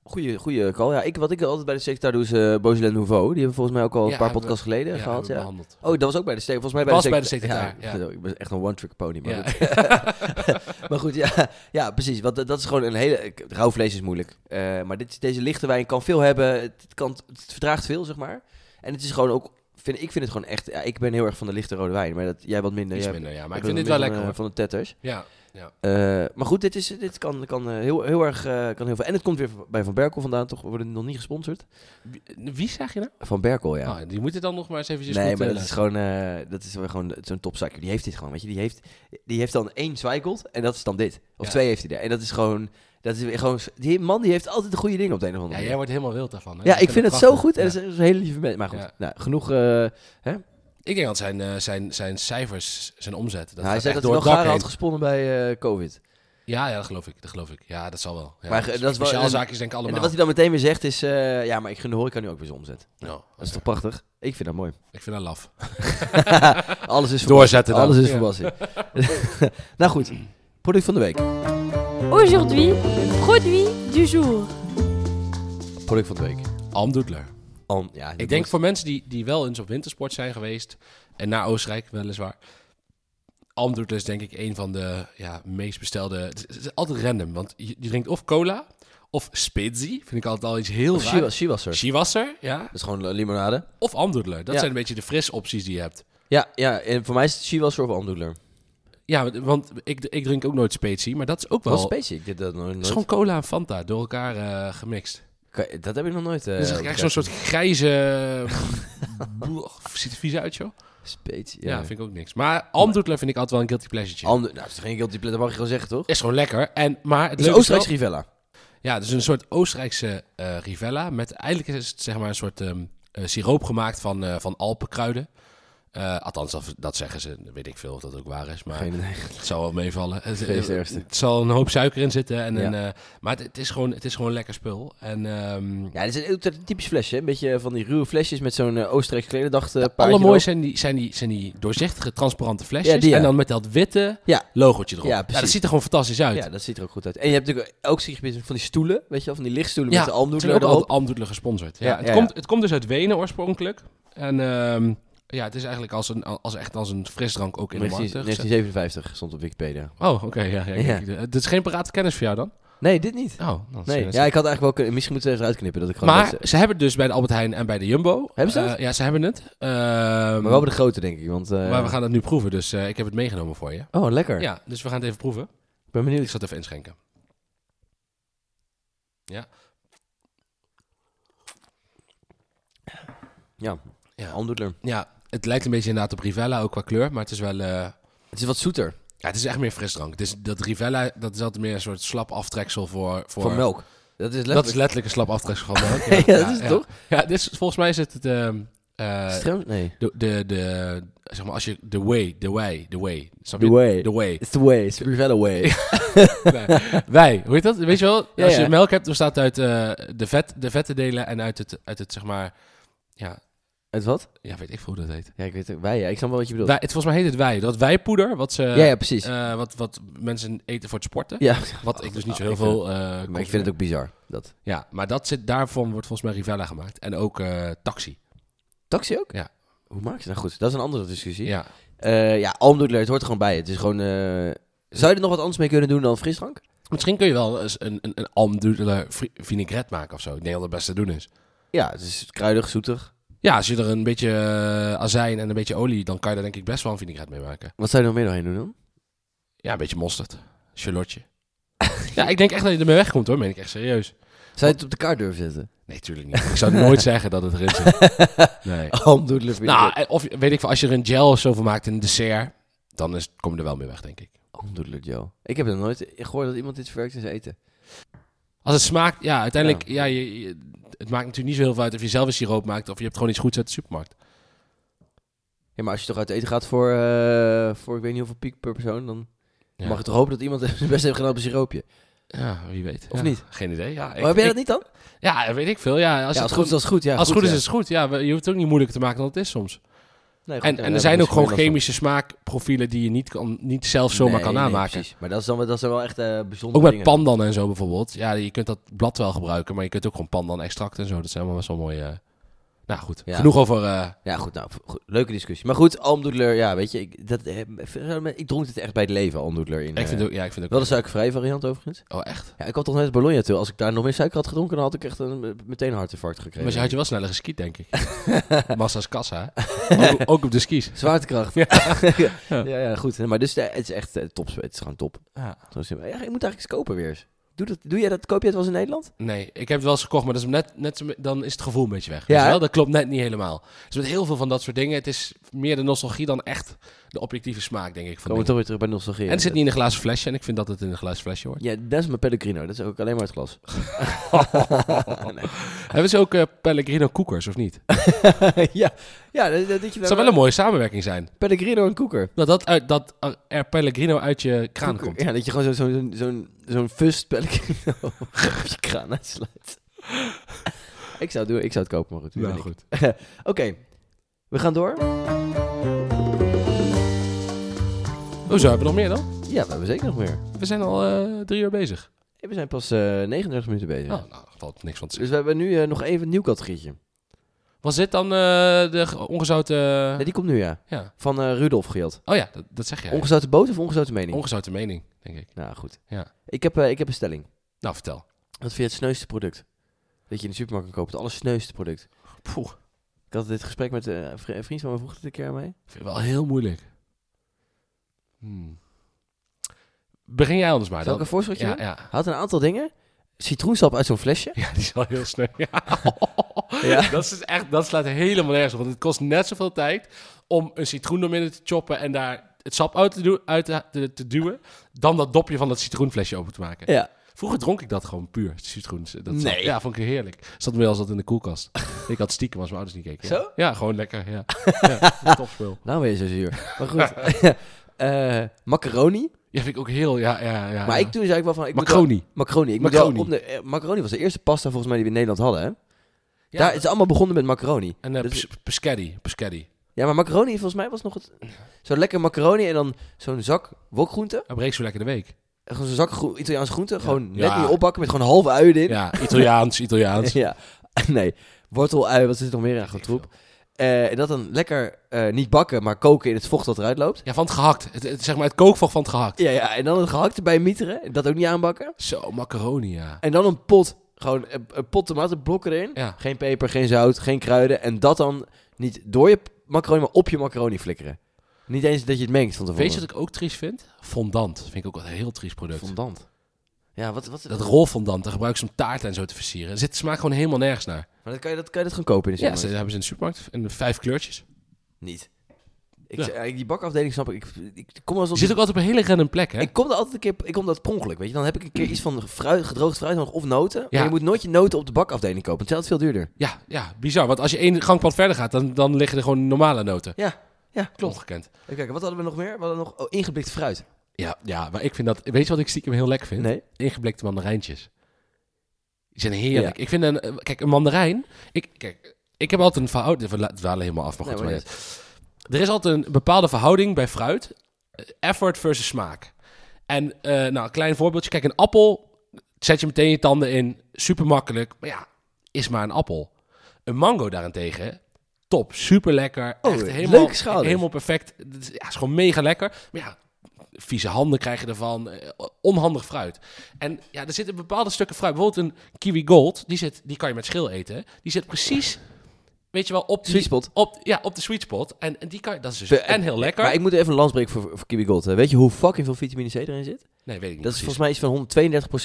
Goeie, goeie call. Ja, ik, wat ik altijd bij de sector doe is eh Beaujolais Nouveau. Die hebben we volgens mij ook al een
Ja,
paar
hebben we-
podcasts geleden
ja,
gehad.
hebben we
Ja.
behandeld.
Oh, dat was ook bij de steek. Volgens mij bij
Was
de
bij de
sector-
secretaar, ja.
Ik ben echt een one-trick pony. Maar,
Ja.
goed. maar goed, ja, ja precies. Want dat dat is gewoon een hele... ik- Rauw vlees is moeilijk. Eh, maar dit, deze lichte wijn kan veel hebben. Het, kan, het verdraagt veel, zeg maar. En het is gewoon ook... Vind, ik vind het gewoon echt... Ja, ik ben heel erg van de lichte rode wijn. Maar dat, jij wat minder.
Iets
jij,
minder, ja. Maar
jij
ik vind
bent
dit
meer
wel lekker,
van,
hoor.
eh, Van de tetters.
Ja.
Eh, maar goed, dit, is, dit kan, kan, eh, heel, heel erg... eh, kan heel veel. En het komt weer bij Van Berkel vandaan, toch? We worden nog niet gesponsord.
Wie, wie zeg je nou?
Van Berkel, ja.
Ah, die moet het dan nog maar eens eventjes
Nee,
goed,
maar
eh,
dat is gewoon, eh, dat is wel gewoon zo'n topzakker. Die heeft dit gewoon, weet je. Die heeft, die heeft dan één Zweigelt en dat is dan dit. Of
Ja.
twee heeft hij er. En dat is gewoon, dat is weer gewoon... Die man die heeft altijd de goede dingen op de een of andere
Ja,
manier.
jij wordt helemaal wild daarvan. Hè?
Ja, ik vind het zo
prachtig.
goed. En
Ja.
dat is een hele lieve mens. Maar goed,
Ja.
nou, genoeg... eh,
Ik denk dat zijn, eh, zijn, zijn cijfers, zijn omzet... Dat
nou, hij
gaat
zei
echt
dat hij wel
door het
garen
dak
had
heen.
gesponnen bij eh, COVID.
Ja, ja, dat geloof ik. Dat geloof ik. Ja, dat zal wel. Ja,
Maar, eh, dat is wel-
Speciaalzaakjes denk ik
En
allemaal.
wat hij dan meteen weer zegt is... eh, ja, maar ik gun de horeca nu ook weer zijn omzet.
Oh, Ja,
Dat is toch prachtig? Ik vind dat mooi.
Ik vind dat laf.
Alles is verbassing.
Doorzetten dan.
Alles is
Ja.
verbassing. nou goed, product van de week.
Aujourd'hui, le produit du jour.
Product van de week.
Alm Doedler.
An, ja, dat
Ik denk
wordt-
voor mensen die, die wel eens op wintersport zijn geweest en naar Oostenrijk weliswaar. Almdudler is denk ik een van de ja, meest bestelde. Het is, het is altijd random, want je, je drinkt of cola of spezi. Vind ik altijd al iets heel
Of
raar.
she was, she was er.
Shiwasser, ja.
Dat is gewoon eh, limonade.
Of Almdudler. Dat
Ja.
zijn een beetje de fris opties die je hebt.
Ja, ja en voor mij is het she was er of Andoedler.
Ja, want- want ik, ik drink ook nooit spezi, maar dat is ook wel.
Wat specie, ik deed dat nog
het
nooit.
is gewoon cola en Fanta door elkaar eh, gemixt.
Kan- Dat heb ik nog nooit. eh,
dus dan krijg je zo'n soort grijze. Blech, ziet er vies uit, joh.
Specie,
Ja,
ja.
vind ik ook niks. Maar Almdudler vind ik altijd wel een guilty pleasure.
Alm- nou, dat is geen guilty pleasure, dat mag je gewoon zeggen, toch?
Is gewoon lekker. En, maar het
Het is een
leuke is
Oostenrijkse Rivella.
wel- Ja, dus een soort Oostenrijkse eh, Rivella. Met, eigenlijk is het zeg maar een soort ehm, eh, siroop gemaakt van, eh, van Alpenkruiden. Eh, althans, dat, dat zeggen ze. Weet ik veel of dat ook waar is. Maar
Geen idee.
het zal wel meevallen. Het,
Geen
het,
eerste.
het zal een hoop suiker in zitten. En een,
Ja.
eh, maar het, het is gewoon, het is gewoon lekker spul. En, ehm,
Ja, dit is een heel ty- typisch flesje. hè. Een beetje eh, van die ruwe flesjes met zo'n eh, Oostenrijkse klederdacht eh, paardje
alle mooi
erop.
zijn die, zijn, die, zijn die doorzichtige, transparante flesjes.
Ja, die, ja.
En dan met dat witte
Ja.
logotje erop.
Ja,
Ja, dat
precies.
ziet er gewoon fantastisch uit.
Ja, dat ziet er ook goed uit. En je hebt natuurlijk ook zie je van die stoelen, weet je wel, van die lichtstoelen
Ja,
met de almdoedler
Natuurlijk ook
erop.
altijd Almdudler gesponsord. Ja,
Ja,
het,
ja,
Komt, het komt dus uit Wenen oorspronkelijk. En ehm, ja, het is eigenlijk als een, als, echt als een frisdrank ook in de
19-
markt. gezet.
1957 stond op Wikipedia.
Oh, oké. ja, ja,
Ja. nou,
kijk, Dit is geen parate kennis voor jou dan?
Nee, dit niet.
Oh, dan
Nee,
is-
ja, ik had eigenlijk wel kunnen... Misschien moeten we het eruit knippen. Dat ik gewoon eh,
maar
dat ze-
ze hebben het dus bij de Albert Heijn en bij de Jumbo.
Hebben ze dat?
Eh, ja, ze hebben het. Ehm,
maar wel bij de grote, denk ik. Want, eh,
maar we gaan het nu proeven, dus eh, ik heb het meegenomen voor je.
Oh, lekker.
Ja, dus we gaan het even proeven.
Ik ben
Ik
benieuwd.
zal het even inschenken.
Ja,
Ja.
almdoedler.
Ja, het lijkt een beetje inderdaad op Rivella, ook qua kleur, maar het is wel... eh,
Het is wat zoeter.
Ja, het is echt meer frisdrank. Het is, dat Rivella, dat is altijd meer een soort slap aftreksel voor... voor
Van melk. Dat is
Dat is
letterlijk...
letterlijk een slap aftreksel van melk.
Ja, dat is het toch?
Ja, dit is, volgens mij is het het... ehm, eh,
Strem- Nee.
de, de, de, zeg maar, als je... The way, the way, the way. Snap
The
je?
way.
The way.
It's the way. It's the Rivella way.
Wij- Wij, hoe heet dat? Weet je wel?
Ja,
als je
ja.
melk hebt, bestaat het uit eh, de, vet, de vette delen en uit het, uit het, zeg maar... Ja,
Het wat?
ja, weet ik veel hoe dat heet.
Ja, ik weet het. Wij, ja. Ik snap wel wat je bedoelt.
Wij, het, volgens mij heet het wij. Dat wijpoeder, wat, ze,
ja, ja, precies.
eh, wat, wat mensen eten voor het sporten.
ja.
Wat ik dus niet zo
Oh,
heel
ik
veel... eh,
Maar ik vind het
consumeer.
ook bizar. Dat.
Ja, maar dat zit, daarvan wordt volgens mij Rivella gemaakt. En ook eh, Taxi.
Taxi ook?
Ja.
Hoe maak je dat? Nou goed, dat is een andere discussie. Ja,
Ja.
ja almdoedler, het hoort er gewoon bij. Het is gewoon... eh, Zou je er nog wat anders mee kunnen doen dan frisdrank?
Misschien kun je wel eens een, een, een almdudele fri- vinaigrette maken of zo. Ik denk dat het best te doen is.
Ja, het is kruidig, zoetig.
Ja, als je er een beetje eh, azijn en een beetje olie... dan kan je daar denk ik best wel een vinaigrette mee maken.
Wat zou je er nog meer doorheen doen dan?
Ja, een beetje mosterd. Charlotje. ja, ik denk echt dat je ermee wegkomt hoor. Meen ik echt serieus.
Zou je het op de kaart durven zetten?
Nee, tuurlijk niet. Ik zou nooit zeggen dat het erin zit. Nee.
Almdoedler vind
Nou, eh, of weet ik veel, als je er een gel of zo van maakt in een dessert... dan is, kom je er wel mee weg, denk ik.
Almdoedler, Joe. Ik heb nog nooit gehoord dat iemand dit verwerkt in zijn eten.
Als het smaakt, ja, uiteindelijk,
Ja.
ja. je, je- het maakt natuurlijk niet zo heel veel uit of je zelf een siroop maakt of je hebt gewoon iets goeds uit de supermarkt.
Ja, maar als je toch uit eten gaat voor, eh, voor ik weet niet hoeveel piek per persoon, dan
Ja.
mag je toch hopen dat iemand zijn best heeft gedaan op een siroopje.
Ja, wie weet.
Of
Ja,
niet?
Geen idee. Ja,
maar heb jij dat
ik-
niet dan?
Ja, weet ik veel. Ja, als,
ja,
het
als goed is, als goed. Ja,
als het goed is,
ja.
is het goed. Ja, we- je hoeft het ook niet moeilijker te maken dan het is soms.
Nee, goed,
en
ja,
en
daar
er zijn
heb
ook
ik
gewoon
misschien last van.
chemische smaakprofielen die je niet, kan, niet zelf zomaar
Nee,
kan
nee,
namaken.
precies. Maar dat, is dan, wel- dat zijn wel echt eh bijzondere
ook met
dingen.
pandan en zo bijvoorbeeld. Ja, je kunt dat blad wel gebruiken, maar je kunt ook gewoon pandan extract en zo. Dat zijn allemaal best wel mooie... eh, Nou goed,
Ja.
genoeg over... eh,
Ja, goed, nou, v- goed, leuke discussie. Maar goed, almdoedler, ja, weet je, ik, dat, eh, ik dronk het echt bij het leven, almdoedler. In,
ik vind
eh,
ook, ja, ik vind
Wel
ook...
de suikervrije variant overigens.
Oh, echt?
Ja, ik had toch net Bologna toe. Als ik daar nog meer suiker had gedronken, dan had ik echt een, meteen een hartinfarct gekregen.
Maar je had je wel sneller geskiet, denk ik. Massa's kassa. hè? Ook, ook op de skis.
Zwaartekracht. ja,
Ja.
ja, goed. Maar dus eh, het is echt eh, top. Het is gewoon top.
Ja.
Zo simpel. Ja, je moet eigenlijk eens kopen weer eens. Doe, dat, doe jij dat? Koop je het wel eens in Nederland?
Nee, ik heb het wel eens gekocht, maar dat is net, net, zo me- dan is het gevoel een beetje weg.
Ja,
Weet je
hè?
wel? Dat klopt net niet helemaal. Dus met heel veel van dat soort dingen, het is meer de nostalgie dan echt de objectieve smaak, denk ik.
Komen
Van
we
dingen.
toch weer terug bij nostalgie.
en het zit niet in een glazen flesje en ik vind dat het in een glazen flesje hoort.
Ja, dat is mijn pellegrino. Dat is ook alleen maar het glas.
Hebben ze ook eh, Pellegrino koekers, of niet? Het
ja, ja dat, dat, dat je daar-
zou wel een mooie samenwerking zijn.
Pellegrino en koeker.
Dat, dat, uit, dat eh, er Pellegrino uit je kraan
Koeker.
komt.
Ja, dat je gewoon zo'n zo, zo, zo'n zo'n fust pellegrino op je kraan uitsluit. ik zou het doen. Ik zou het kopen, maar goed. wie ben ik?
goed.
Oké, we gaan door.
Oh, zo hebben we nog meer dan?
Ja, we hebben zeker nog meer.
We zijn al eh, drie uur bezig.
We zijn pas eh 39 minuten bezig.
Oh, nou, daar valt niks van te zeggen.
Dus we hebben nu eh, nog even een nieuw categorietje.
Was dit dan eh, de ge- ongezouten...
Nee, die komt nu, ja.
Ja.
Van eh, Rudolf gejat.
Oh ja, dat, dat zeg jij.
Ongezouten boot of ongezouten mening?
Ongezouten mening, denk ik.
nou, goed.
Ja.
Ik, heb, eh, ik heb een stelling.
Nou, vertel.
Wat vind je het sneuste product? Dat je in de supermarkt kan kopen. Het allersneuste product.
Poeh,
Ik had dit gesprek met eh, een vri- een vriend van me vroeg dit een keer mee.
ik vind het wel heel moeilijk. Hmm. Begin jij anders maar
Zal ik
dan.
een voorsteltje
Ja,
doen?
ja.
Hij had een aantal dingen. Citroensap uit zo'n flesje.
Ja, die is wel heel snel. Ja.
Ja.
Dat, is echt, dat slaat helemaal nergens op. Want het kost net zoveel tijd om een citroen door midden te choppen en daar het sap uit, te, doen, uit te, te, te duwen. Dan dat dopje van dat citroenflesje open te maken.
Ja.
Vroeger dronk ik dat gewoon puur, citroen. Dat sap.
Nee.
Ja, vond ik heerlijk. Zat me wel eens dat in de koelkast. ik had stiekem als mijn ouders niet keken. Ja.
Zo?
Ja, gewoon lekker. Ja. ja topspul.
Nou ben je zo zuur. Maar goed. Eh, macaroni.
Ja, vind ik ook heel... Ja, ja, Ah, ja.
Maar ik toen zei ik wel van... Ik moet wel-
Macaroni.
macaroni. Ik moet
Macaroni.
wel op de, eh, macaroni was de eerste pasta volgens mij die we in Nederland hadden. Hè?
Ja,
Daar is Dus het allemaal begonnen met macaroni.
En eh
Dat is-
pis- pescaddy. Pescaddy.
Ja, maar macaroni volgens mij was nog het... Zo lekker macaroni en dan zo'n zak wokgroente.
Een breek zo lekker de week.
Gewoon zo'n zak gro- Italiaanse groente. Gewoon net
Ja.
niet opbakken met gewoon halve uien in.
Ja, Italiaans, Italiaans.
Ja, nee. Wortel, ui, wat zit er nog meer in? Gewoon troep. Eh, en dat dan lekker eh, niet bakken, maar koken in het vocht dat eruit loopt.
Ja, van het gehakt. Het, het- zeg maar het kookvocht van het gehakt.
Ja, ja, en dan een gehakt erbij mieteren. en Dat ook niet aanbakken.
Zo, macaroni, ja.
En dan een pot, gewoon een, een pot tomatenblokken erin.
Ja.
Geen peper, geen zout, geen kruiden. En dat dan niet door je macaroni, maar op je macaroni flikkeren. Niet eens dat je het mengt van tevoren.
Weet je wat ik ook triest vind? Fondant. Vind ik ook wel een heel triest product.
Fondant. Ja, wat... wat
Dat rolfondant, daar gebruiken ze om taart en zo te versieren. Er zit de smaak gewoon helemaal nergens naar.
maar dat kan, je, dat kan je dat gewoon kopen in de
Ja,
supermarkt?
ze hebben ze in de supermarkt. En de vijf kleurtjes.
Niet. Ik,
Ja.
zeg, eigenlijk, die bakafdeling snap ik. Ik, ik kom wel eens
Je
op
zit ook altijd op een hele random plek, hè?
Ik kom er altijd een keer, ik kom dat per ongeluk, weet je. Dan heb ik een keer iets van fruit, gedroogd fruit nodig of noten.
Ja.
Maar je moet nooit je noten op de bakafdeling kopen, want het is altijd veel duurder.
Ja, ja, bizar. Want als je één gangpad verder gaat, dan, dan liggen er gewoon normale noten.
Ja, ja, klopt.
Ongekend.
Even kijken, wat hadden we nog meer? We hadden nog oh, ingeblikt fruit.
Ja, ja, maar ik vind dat... Weet je wat ik stiekem heel lekker vind?
Nee.
ingeblikte mandarijntjes. Die zijn heerlijk. Ik vind een... eh, Kijk, een mandarijn... Ik, kijk, ik heb altijd een verhouding... We la- dwalen helemaal af, maar
Nee,
goed.
maar
maar niet. er is altijd een bepaalde verhouding bij fruit. Eh, Effort versus smaak. En eh, nou, een klein voorbeeldje. Kijk, een appel zet je meteen je tanden in. Super makkelijk. Maar ja, is maar een appel. Een mango daarentegen... Top, super lekker.
Oh,
Echt
leuke
helemaal,
schouders.
helemaal perfect. Het is- Ja, is gewoon mega lekker. Maar ja, vieze handen krijg je ervan. eh, Onhandig fruit. En ja, er zitten bepaalde stukken fruit. Bijvoorbeeld een kiwi gold, die, zit, die kan je met schil eten. Die zit precies, weet je wel, op, die,
Sweet spot.
op, ja, op de sweet spot. En, en die kan je, dat is dus
Be-
en heel lekker.
Maar ik moet er even een lans breken voor, voor Kiwi Gold. hè. Weet je hoe fucking veel vitamine C erin zit?
nee, weet ik
Dat
niet
is
precies.
volgens mij iets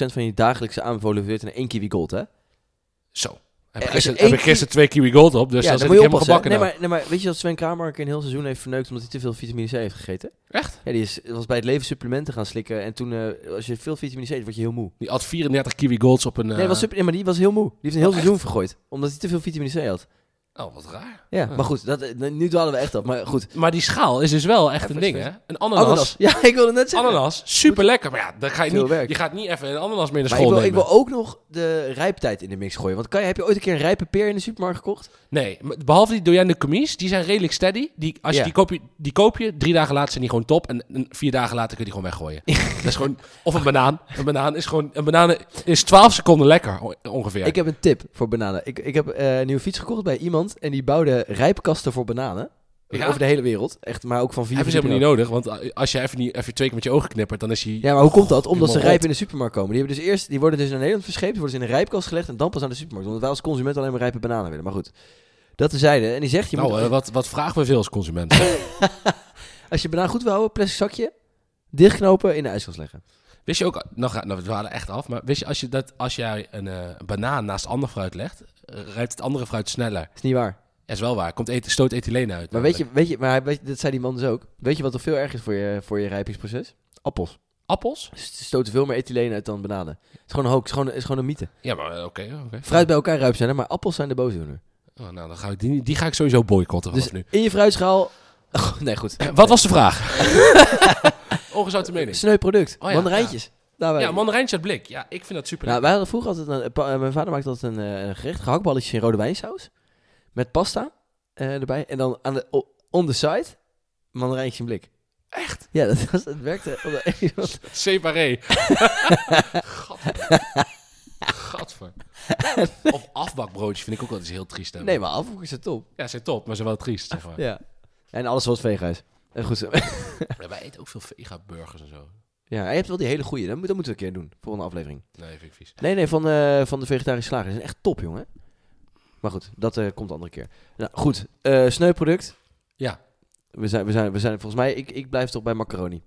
van 132% van je dagelijkse aanbevolen vitamine in één Kiwi Gold, hè?
Zo. Heb
Eh,
ik
als
gisteren,
je
heb
één
ik gisteren twee kiwi gold op, dus
ja,
dan zit
moet
ik helemaal
oppassen, hè.
gebakken
nee,
nou.
maar, nee, maar weet je dat Sven Kramer een keer een heel seizoen heeft verneukt omdat hij te veel vitamine C heeft gegeten?
Echt?
Ja, die is, was bij het leven supplementen gaan slikken en toen, eh, als je veel vitamine C eet, word je heel moe.
Die had 34 kiwi golds op een...
Nee,
eh,
was super, nee, maar die was heel moe. Die heeft een heel
Oh, echt?
seizoen vergooid. Omdat hij te veel vitamine C had.
Oh, wat raar.
Ja,
Ah.
maar goed, dat, eh, nu dwalen we echt af. Maar goed,
Maar die schaal is dus wel echt
Ja,
een
best
ding, hè?
wel.
Een ananas.
ananas. Ja, ik wilde net zeggen.
Ananas, super lekker. Maar ja, dan ga je
Veel
niet,
werk.
je gaat niet even een ananas mee naar
Maar ik
school
wil, ik
nemen.
wil ook nog de rijptijd in de mix gooien. Want kan je, heb je ooit een keer een rijpe peer in de supermarkt gekocht?
Nee, maar behalve die Doyenne Commies, die zijn redelijk steady. Die, als
Ja.
je die, koop je, die koop je, drie dagen later zijn die gewoon top. En, en vier dagen later kun je die gewoon weggooien. dat is gewoon, of een banaan. Een banaan is gewoon, een banaan is 12 seconden lekker o- ongeveer.
Ik heb een tip voor bananen. Ik, ik heb eh, een nieuwe fiets gekocht bij iemand. En die bouwde rijpkasten voor bananen.
Ja?
Over de hele wereld. Echt, maar ook van vier
Hebben ze
verdiepingen
helemaal niet nodig, want eh, als je even, niet, even twee keer met je ogen knippert, dan is hij...
Ja, maar hoe komt dat? Omdat ze
helemaal
rijp
rot.
in de supermarkt komen. Die, hebben dus eerst, die worden dus naar Nederland verscheept, worden ze in een rijpkast gelegd en dan pas aan de supermarkt. Omdat wij als consument alleen maar rijpe bananen willen. Maar goed, dat tezijde. En die zegt, je
nou,
moet,
eh, wat, wat vragen we veel als consumenten?
als je banaan goed wil houden, plastic zakje, dichtknopen, in de ijskast leggen.
wist je ook, nou, ga- nou we dwalen echt af, maar wist je, als, je dat, als jij een eh, banaan naast ander fruit legt, eh, rijpt het andere fruit sneller.
Is niet waar.
Dat is wel waar, komt eten, stoot ethyleen uit.
Maar weet je, weet je, maar hij- weet, je- dat zei die man dus ook. Weet je wat nog veel erg is voor je, voor je rijpingsproces? Appels.
Appels?
Ze stoten veel meer ethyleen uit dan bananen. Het is gewoon een hoax, het is gewoon, het is gewoon een mythe.
Ja, maar eh, oké, oké.
Fruit bij elkaar ruip zijn, hè, maar appels zijn de boosdoener.
Oh, nou, dan ga ik die, die ga ik sowieso boycotten vanaf
Dus
Oh, nu. Eh,
in je fruitschaal... Oh, nee, goed.
Wat was de vraag? Ongezouten mening.
Sneu product.
Oh ja,
Mandarijntjes. Nou, wij-
Ja, mandarijntje uit blik. Ja, ik vind dat super.
Nou, wij hadden vroeger altijd een, pa- eh, mijn vader maakte altijd een, eh, een gerecht, gehaktballetjes in rode wijnsaus met pasta eh, erbij en dan aan de o- on the side mandarijntje in blik. Ja, dat, was, dat werkte. op de een of andere-
Separé. Gadver. Gadver. Of afbakbroodjes vind ik ook altijd heel triest. hebben.
Nee, maar afvoer is het top.
Ja, ze zijn top, maar ze zijn wel triest, zeg maar.
Ja. En alles was veeghuis. En goed zo.
Maar Wij eten ook veel vega-burgers en zo.
Ja, je hebt wel die hele goede. Dat, moet- dat moeten we een keer doen. Volgende aflevering.
Nee, vind ik vies.
Nee, nee, van, eh, van de vegetarische slager. Dat is echt top, jongen. Maar goed, dat eh, komt de andere keer. Nou, goed. eh sneuproduct.
Ja.
We zijn, we zijn, we zijn volgens mij... Ik, ik blijf toch bij macaroni.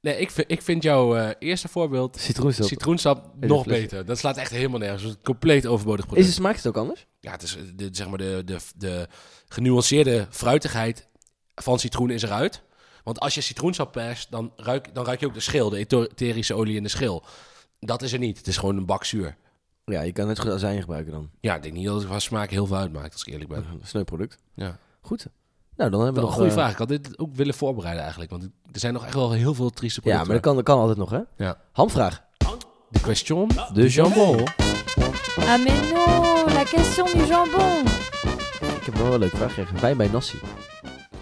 Nee, ik vind, ik vind jouw eh, eerste voorbeeld,
Citroensap.
citroensap,
een
nog
flesje.
beter. Dat slaat echt helemaal nergens. Het is een compleet overbodig
is
product.
de smaak het ook anders?
Ja, het is eh, de, zeg maar de, de, de genuanceerde fruitigheid van citroen is eruit. Want als je citroensap perst, dan ruik, dan ruik je ook de schil, de etherische olie in de schil. Dat is er niet. Het is gewoon een bak zuur.
Ja, je kan net zo goed azijn gebruiken dan.
Ja, ik denk niet dat het qua smaak heel veel uitmaakt, als ik eerlijk ben.
Sneuproduct.
Ja.
Goed. Nou, dan hebben we
Wel een
nog...
goede
eh,
vraag. Ik had dit ook willen voorbereiden eigenlijk. Want er zijn nog echt wel heel veel trieste
Ja, maar
producten.
dat kan, dat kan altijd nog, hè?
Ja.
Hamvraag.
De question
De jambon.
Ah mais non, la question du jambon.
Ik heb wel een leuke vraag gekregen. Wijn bij Nassi.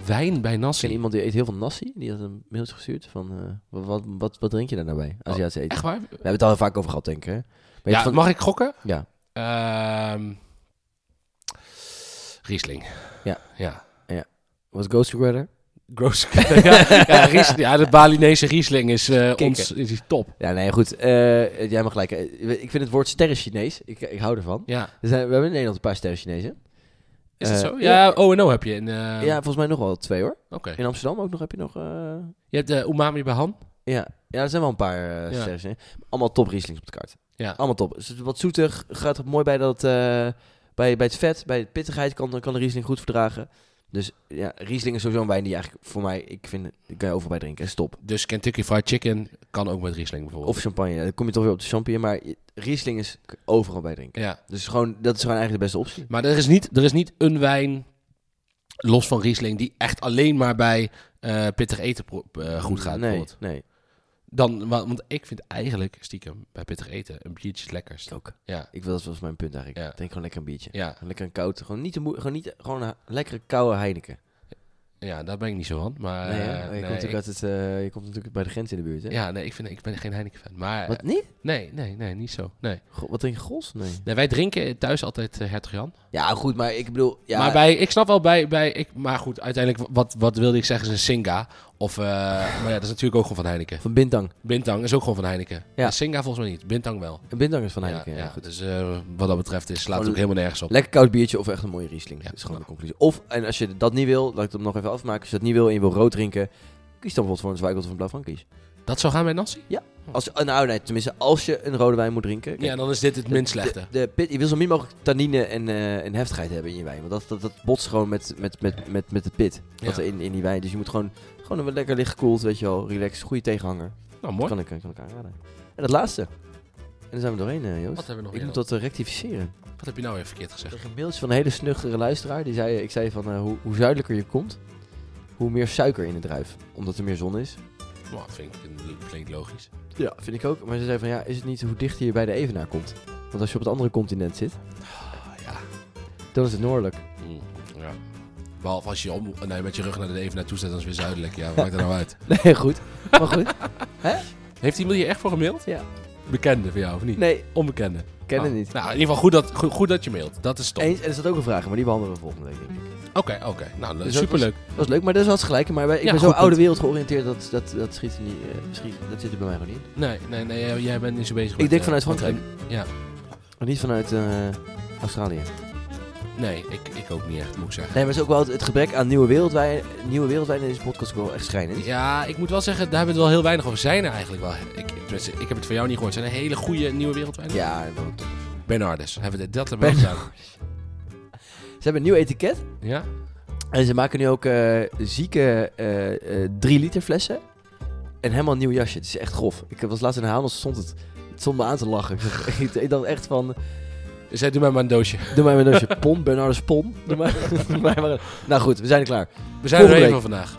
Wijn bij
Ik ken
nasi.
iemand die eet heel veel Nassi. Die had een mailtje gestuurd van... eh, wat, wat, wat, wat drink je daar nou bij? Aziatische eten.
Echt waar?
We hebben het al heel vaak over gehad, denk ik, hè? Maar je hebt
Ja,
van-
mag ik gokken?
Ja.
Ehm, Riesling.
Ja.
Ja.
Wat Ghost Rider?
Gross. ja, ja, Ries- ja, de Balinese Riesling is, eh,
Kikker.
ons, is die top.
Ja, nee, goed. Eh, jij mag gelijk. Eh, Ik vind het woord sterren-Chinees. Ik, ik hou ervan.
Ja.
Er zijn, we hebben in Nederland een paar sterren-Chinezen.
Is
Eh,
dat zo? Ja, O&O heb je. In, eh,
ja, volgens mij nog wel twee hoor.
Oké.
In Amsterdam ook nog heb je nog. eh,
Je hebt de umami bij Han.
ja. ja, er zijn wel een paar eh
Ja.
sterren-Chinezen. Allemaal top Rieslings op de kaart.
Ja.
Allemaal top. Is het wat zoetig. Gaat het mooi bij, dat, eh, bij, bij het vet. Bij de pittigheid kan, kan de Riesling goed verdragen. Dus ja, Riesling is sowieso een wijn die eigenlijk voor mij, ik vind, ik kan je overal bij drinken. Is top.
Dus Kentucky Fried Chicken kan ook met Riesling bijvoorbeeld.
Of champagne. Dan kom je toch weer op de champagne. Maar Riesling is overal bij drinken.
ja.
Dus gewoon, dat is gewoon eigenlijk de beste optie.
Maar er is, niet, er is niet een wijn, los van Riesling, die echt alleen maar bij eh, pittig eten pro- eh, goed gaat.
Nee,
bijvoorbeeld.
nee.
Dan, wa- want ik vind eigenlijk stiekem bij pittig eten een biertje het lekkerst.
Ook.
Ja.
Ik wil dat was mijn punt eigenlijk.
Ja.
Drink gewoon lekker een biertje.
Ja,
Gewoon Lekker een koud. Gewoon niet, te moe, gewoon niet gewoon een lekkere koude Heineken.
ja, daar ben ik niet zo van. Maar,
nee, hè? Oh,
eh,
je,
nee,
komt natuurlijk uit
ik-
het, eh, je komt natuurlijk bij de grens in de buurt. Hè?
ja, eh, nee, ik, vind, ik ben geen Heineken-fan. Maar
Wat niet?
Nee, nee, nee, niet zo. Nee.
Go- wat drink je Gros? Nee.
nee wij drinken thuis altijd eh, Hertog Jan.
Ja, goed, maar ik bedoel. Ja,
Maar bij, ik snap wel bij, bij ik, maar goed, uiteindelijk, wat, wat wilde ik zeggen, is een Singa. Of, eh, maar ja, dat is natuurlijk ook gewoon van Heineken.
Van Bintang.
Bintang is ook gewoon van Heineken.
Ja.
Ja. Singa volgens mij niet, Bintang wel.
Een Bintang is van Heineken.
ja,
Ja,
ja,
goed.
Dus eh, wat dat betreft is, slaat het
Gewoon-
ook helemaal nergens op.
Lekker koud biertje of echt een mooie Riesling.
Ja.
Dat is gewoon de conclusie. Of, en als je dat niet wil, laat ik hem nog even afmaken. Als je dat niet wil en je wil rood drinken, kies dan bijvoorbeeld voor een Zweigelt of een Blauw Frankies.
Dat zou gaan bij Nancy?
Als, eh, nou, nee, tenminste, als je een rode wijn moet drinken. kijk,
Ja, dan is dit het minst slechte.
De, de pit, je wil zo min mogelijk tannine en, eh, en heftigheid hebben in je wijn. Want dat, dat, dat botst gewoon met, met, met, met, met de pit. Wat
Ja.
er in, in die wijn. Dus je moet gewoon, gewoon een wat lekker licht gekoeld, weet je wel. Relaxed, goede tegenhanger.
Nou,
Dat
mooi.
kan ik, eh, kan ik aanraden. En het laatste. En daar zijn we doorheen, eh, Joost.
Wat hebben we nog
ik
meer
moet
dan?
dat eh, rectificeren.
Wat heb je nou weer verkeerd gezegd?
Ik kreeg een mailtje van een hele snuchtere luisteraar. Die zei, ik zei van, eh, hoe, hoe zuidelijker je komt, hoe meer suiker in de druif. Omdat er meer zon is.
Nou, vind ik vind ik klinkt logisch.
Ja, vind ik ook. Maar ze zei van, ja, is het niet hoe dichter je bij de evenaar komt? Want als je op het andere continent zit,
Ah, ja.
dan is het noordelijk.
Mm, ja. Behalve als je om, nee, met je rug naar de even naartoe staat, dan is het weer zuidelijk. Ja, wat maakt dat nou uit?
Nee, goed. Maar goed.
Heeft iemand hier echt voor gemaild?
Ja.
Bekende van jou, of niet?
Nee,
Onbekende.
ken het
Oh.
niet.
Nou, in ieder geval goed dat, goed, goed dat je mailt. Dat is top.
Eens, en er zat ook een vraag, maar die behandelen we volgende week, denk ik.
Oké, oké. Nou,
Dus
dat is
dat
superleuk.
Dat was leuk, maar dat is hartstikke gelijk. Maar wij- ik
Ja,
ben zo
goed
oude
punt.
wereld georiënteerd, dat, dat, dat, schiet er niet, eh, schiet, dat zit er bij mij gewoon niet in.
Nee, nee, nee, jij- jij bent niet zo bezig
Ik
met,
denk
eh,
vanuit Frankrijk.
ja.
Maar niet vanuit eh, Australië.
Nee, ik, ik ook niet echt, moet ik zeggen.
Nee, maar het is ook wel het, het gebrek aan nieuwe wereldwijnen. Nieuwe wereldwijnen in deze podcast ook wel echt schrijnend.
Ja, ik moet wel zeggen, daar hebben we het wel heel weinig over. Zijn er eigenlijk wel... Ik, tenminste, ik heb het van jou niet gehoord. Zijn er hele goede nieuwe wereldwijnen?
Ja, dat wil ik toch.
Bernardus. Hebben we dit, dat hebben we wel gedaan.
Ze hebben een nieuw etiket.
Ja?
En ze maken nu ook eh, zieke 3 liter flessen. En helemaal een nieuw jasje. Het is echt grof. Ik was laatst in de Hanos, stond het. Het stond me aan te lachen. Ik dacht- Ik dacht echt van,
Dus hij doet mij maar een doosje.
Doe mij maar een doosje pon, Bernardus pon. Doe mij, doe mij maar een- Nou goed, we zijn er klaar.
We zijn er
Volgende
even
week.
van vandaag.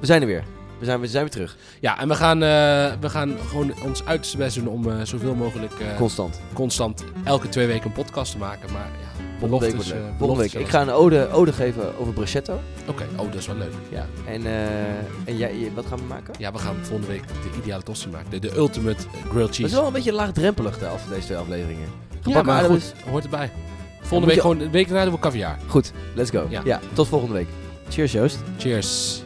We zijn er weer. We zijn, we zijn weer terug.
Ja, en we gaan, eh, we gaan gewoon ons uiterste best doen om eh, zoveel mogelijk... eh,
Constant.
constant elke twee weken een podcast te maken. Maar ja,
Volgende week
Beloftes,
wordt leuk. Volgende
eh, beloftes
week. Ik
zelfs.
ga een ode, ode geven over Brachetto.
Oké, oh, dat is wel leuk.
Ja. En, eh, en jij, je- wat gaan we maken?
Ja, we gaan volgende week de ideale tosti maken. De, de ultimate eh, grilled
Dat is
cheese.
wel een beetje laagdrempelig de af, deze twee afleveringen.
ja,
Gebakken
maar
aardappels.
goed, hoort erbij.
moet
Volgende week
je-
gewoon, de week daarna doen we caviar.
Goed, let's go.
Ja.
ja, tot volgende week. Cheers Joost.
Cheers. Nou,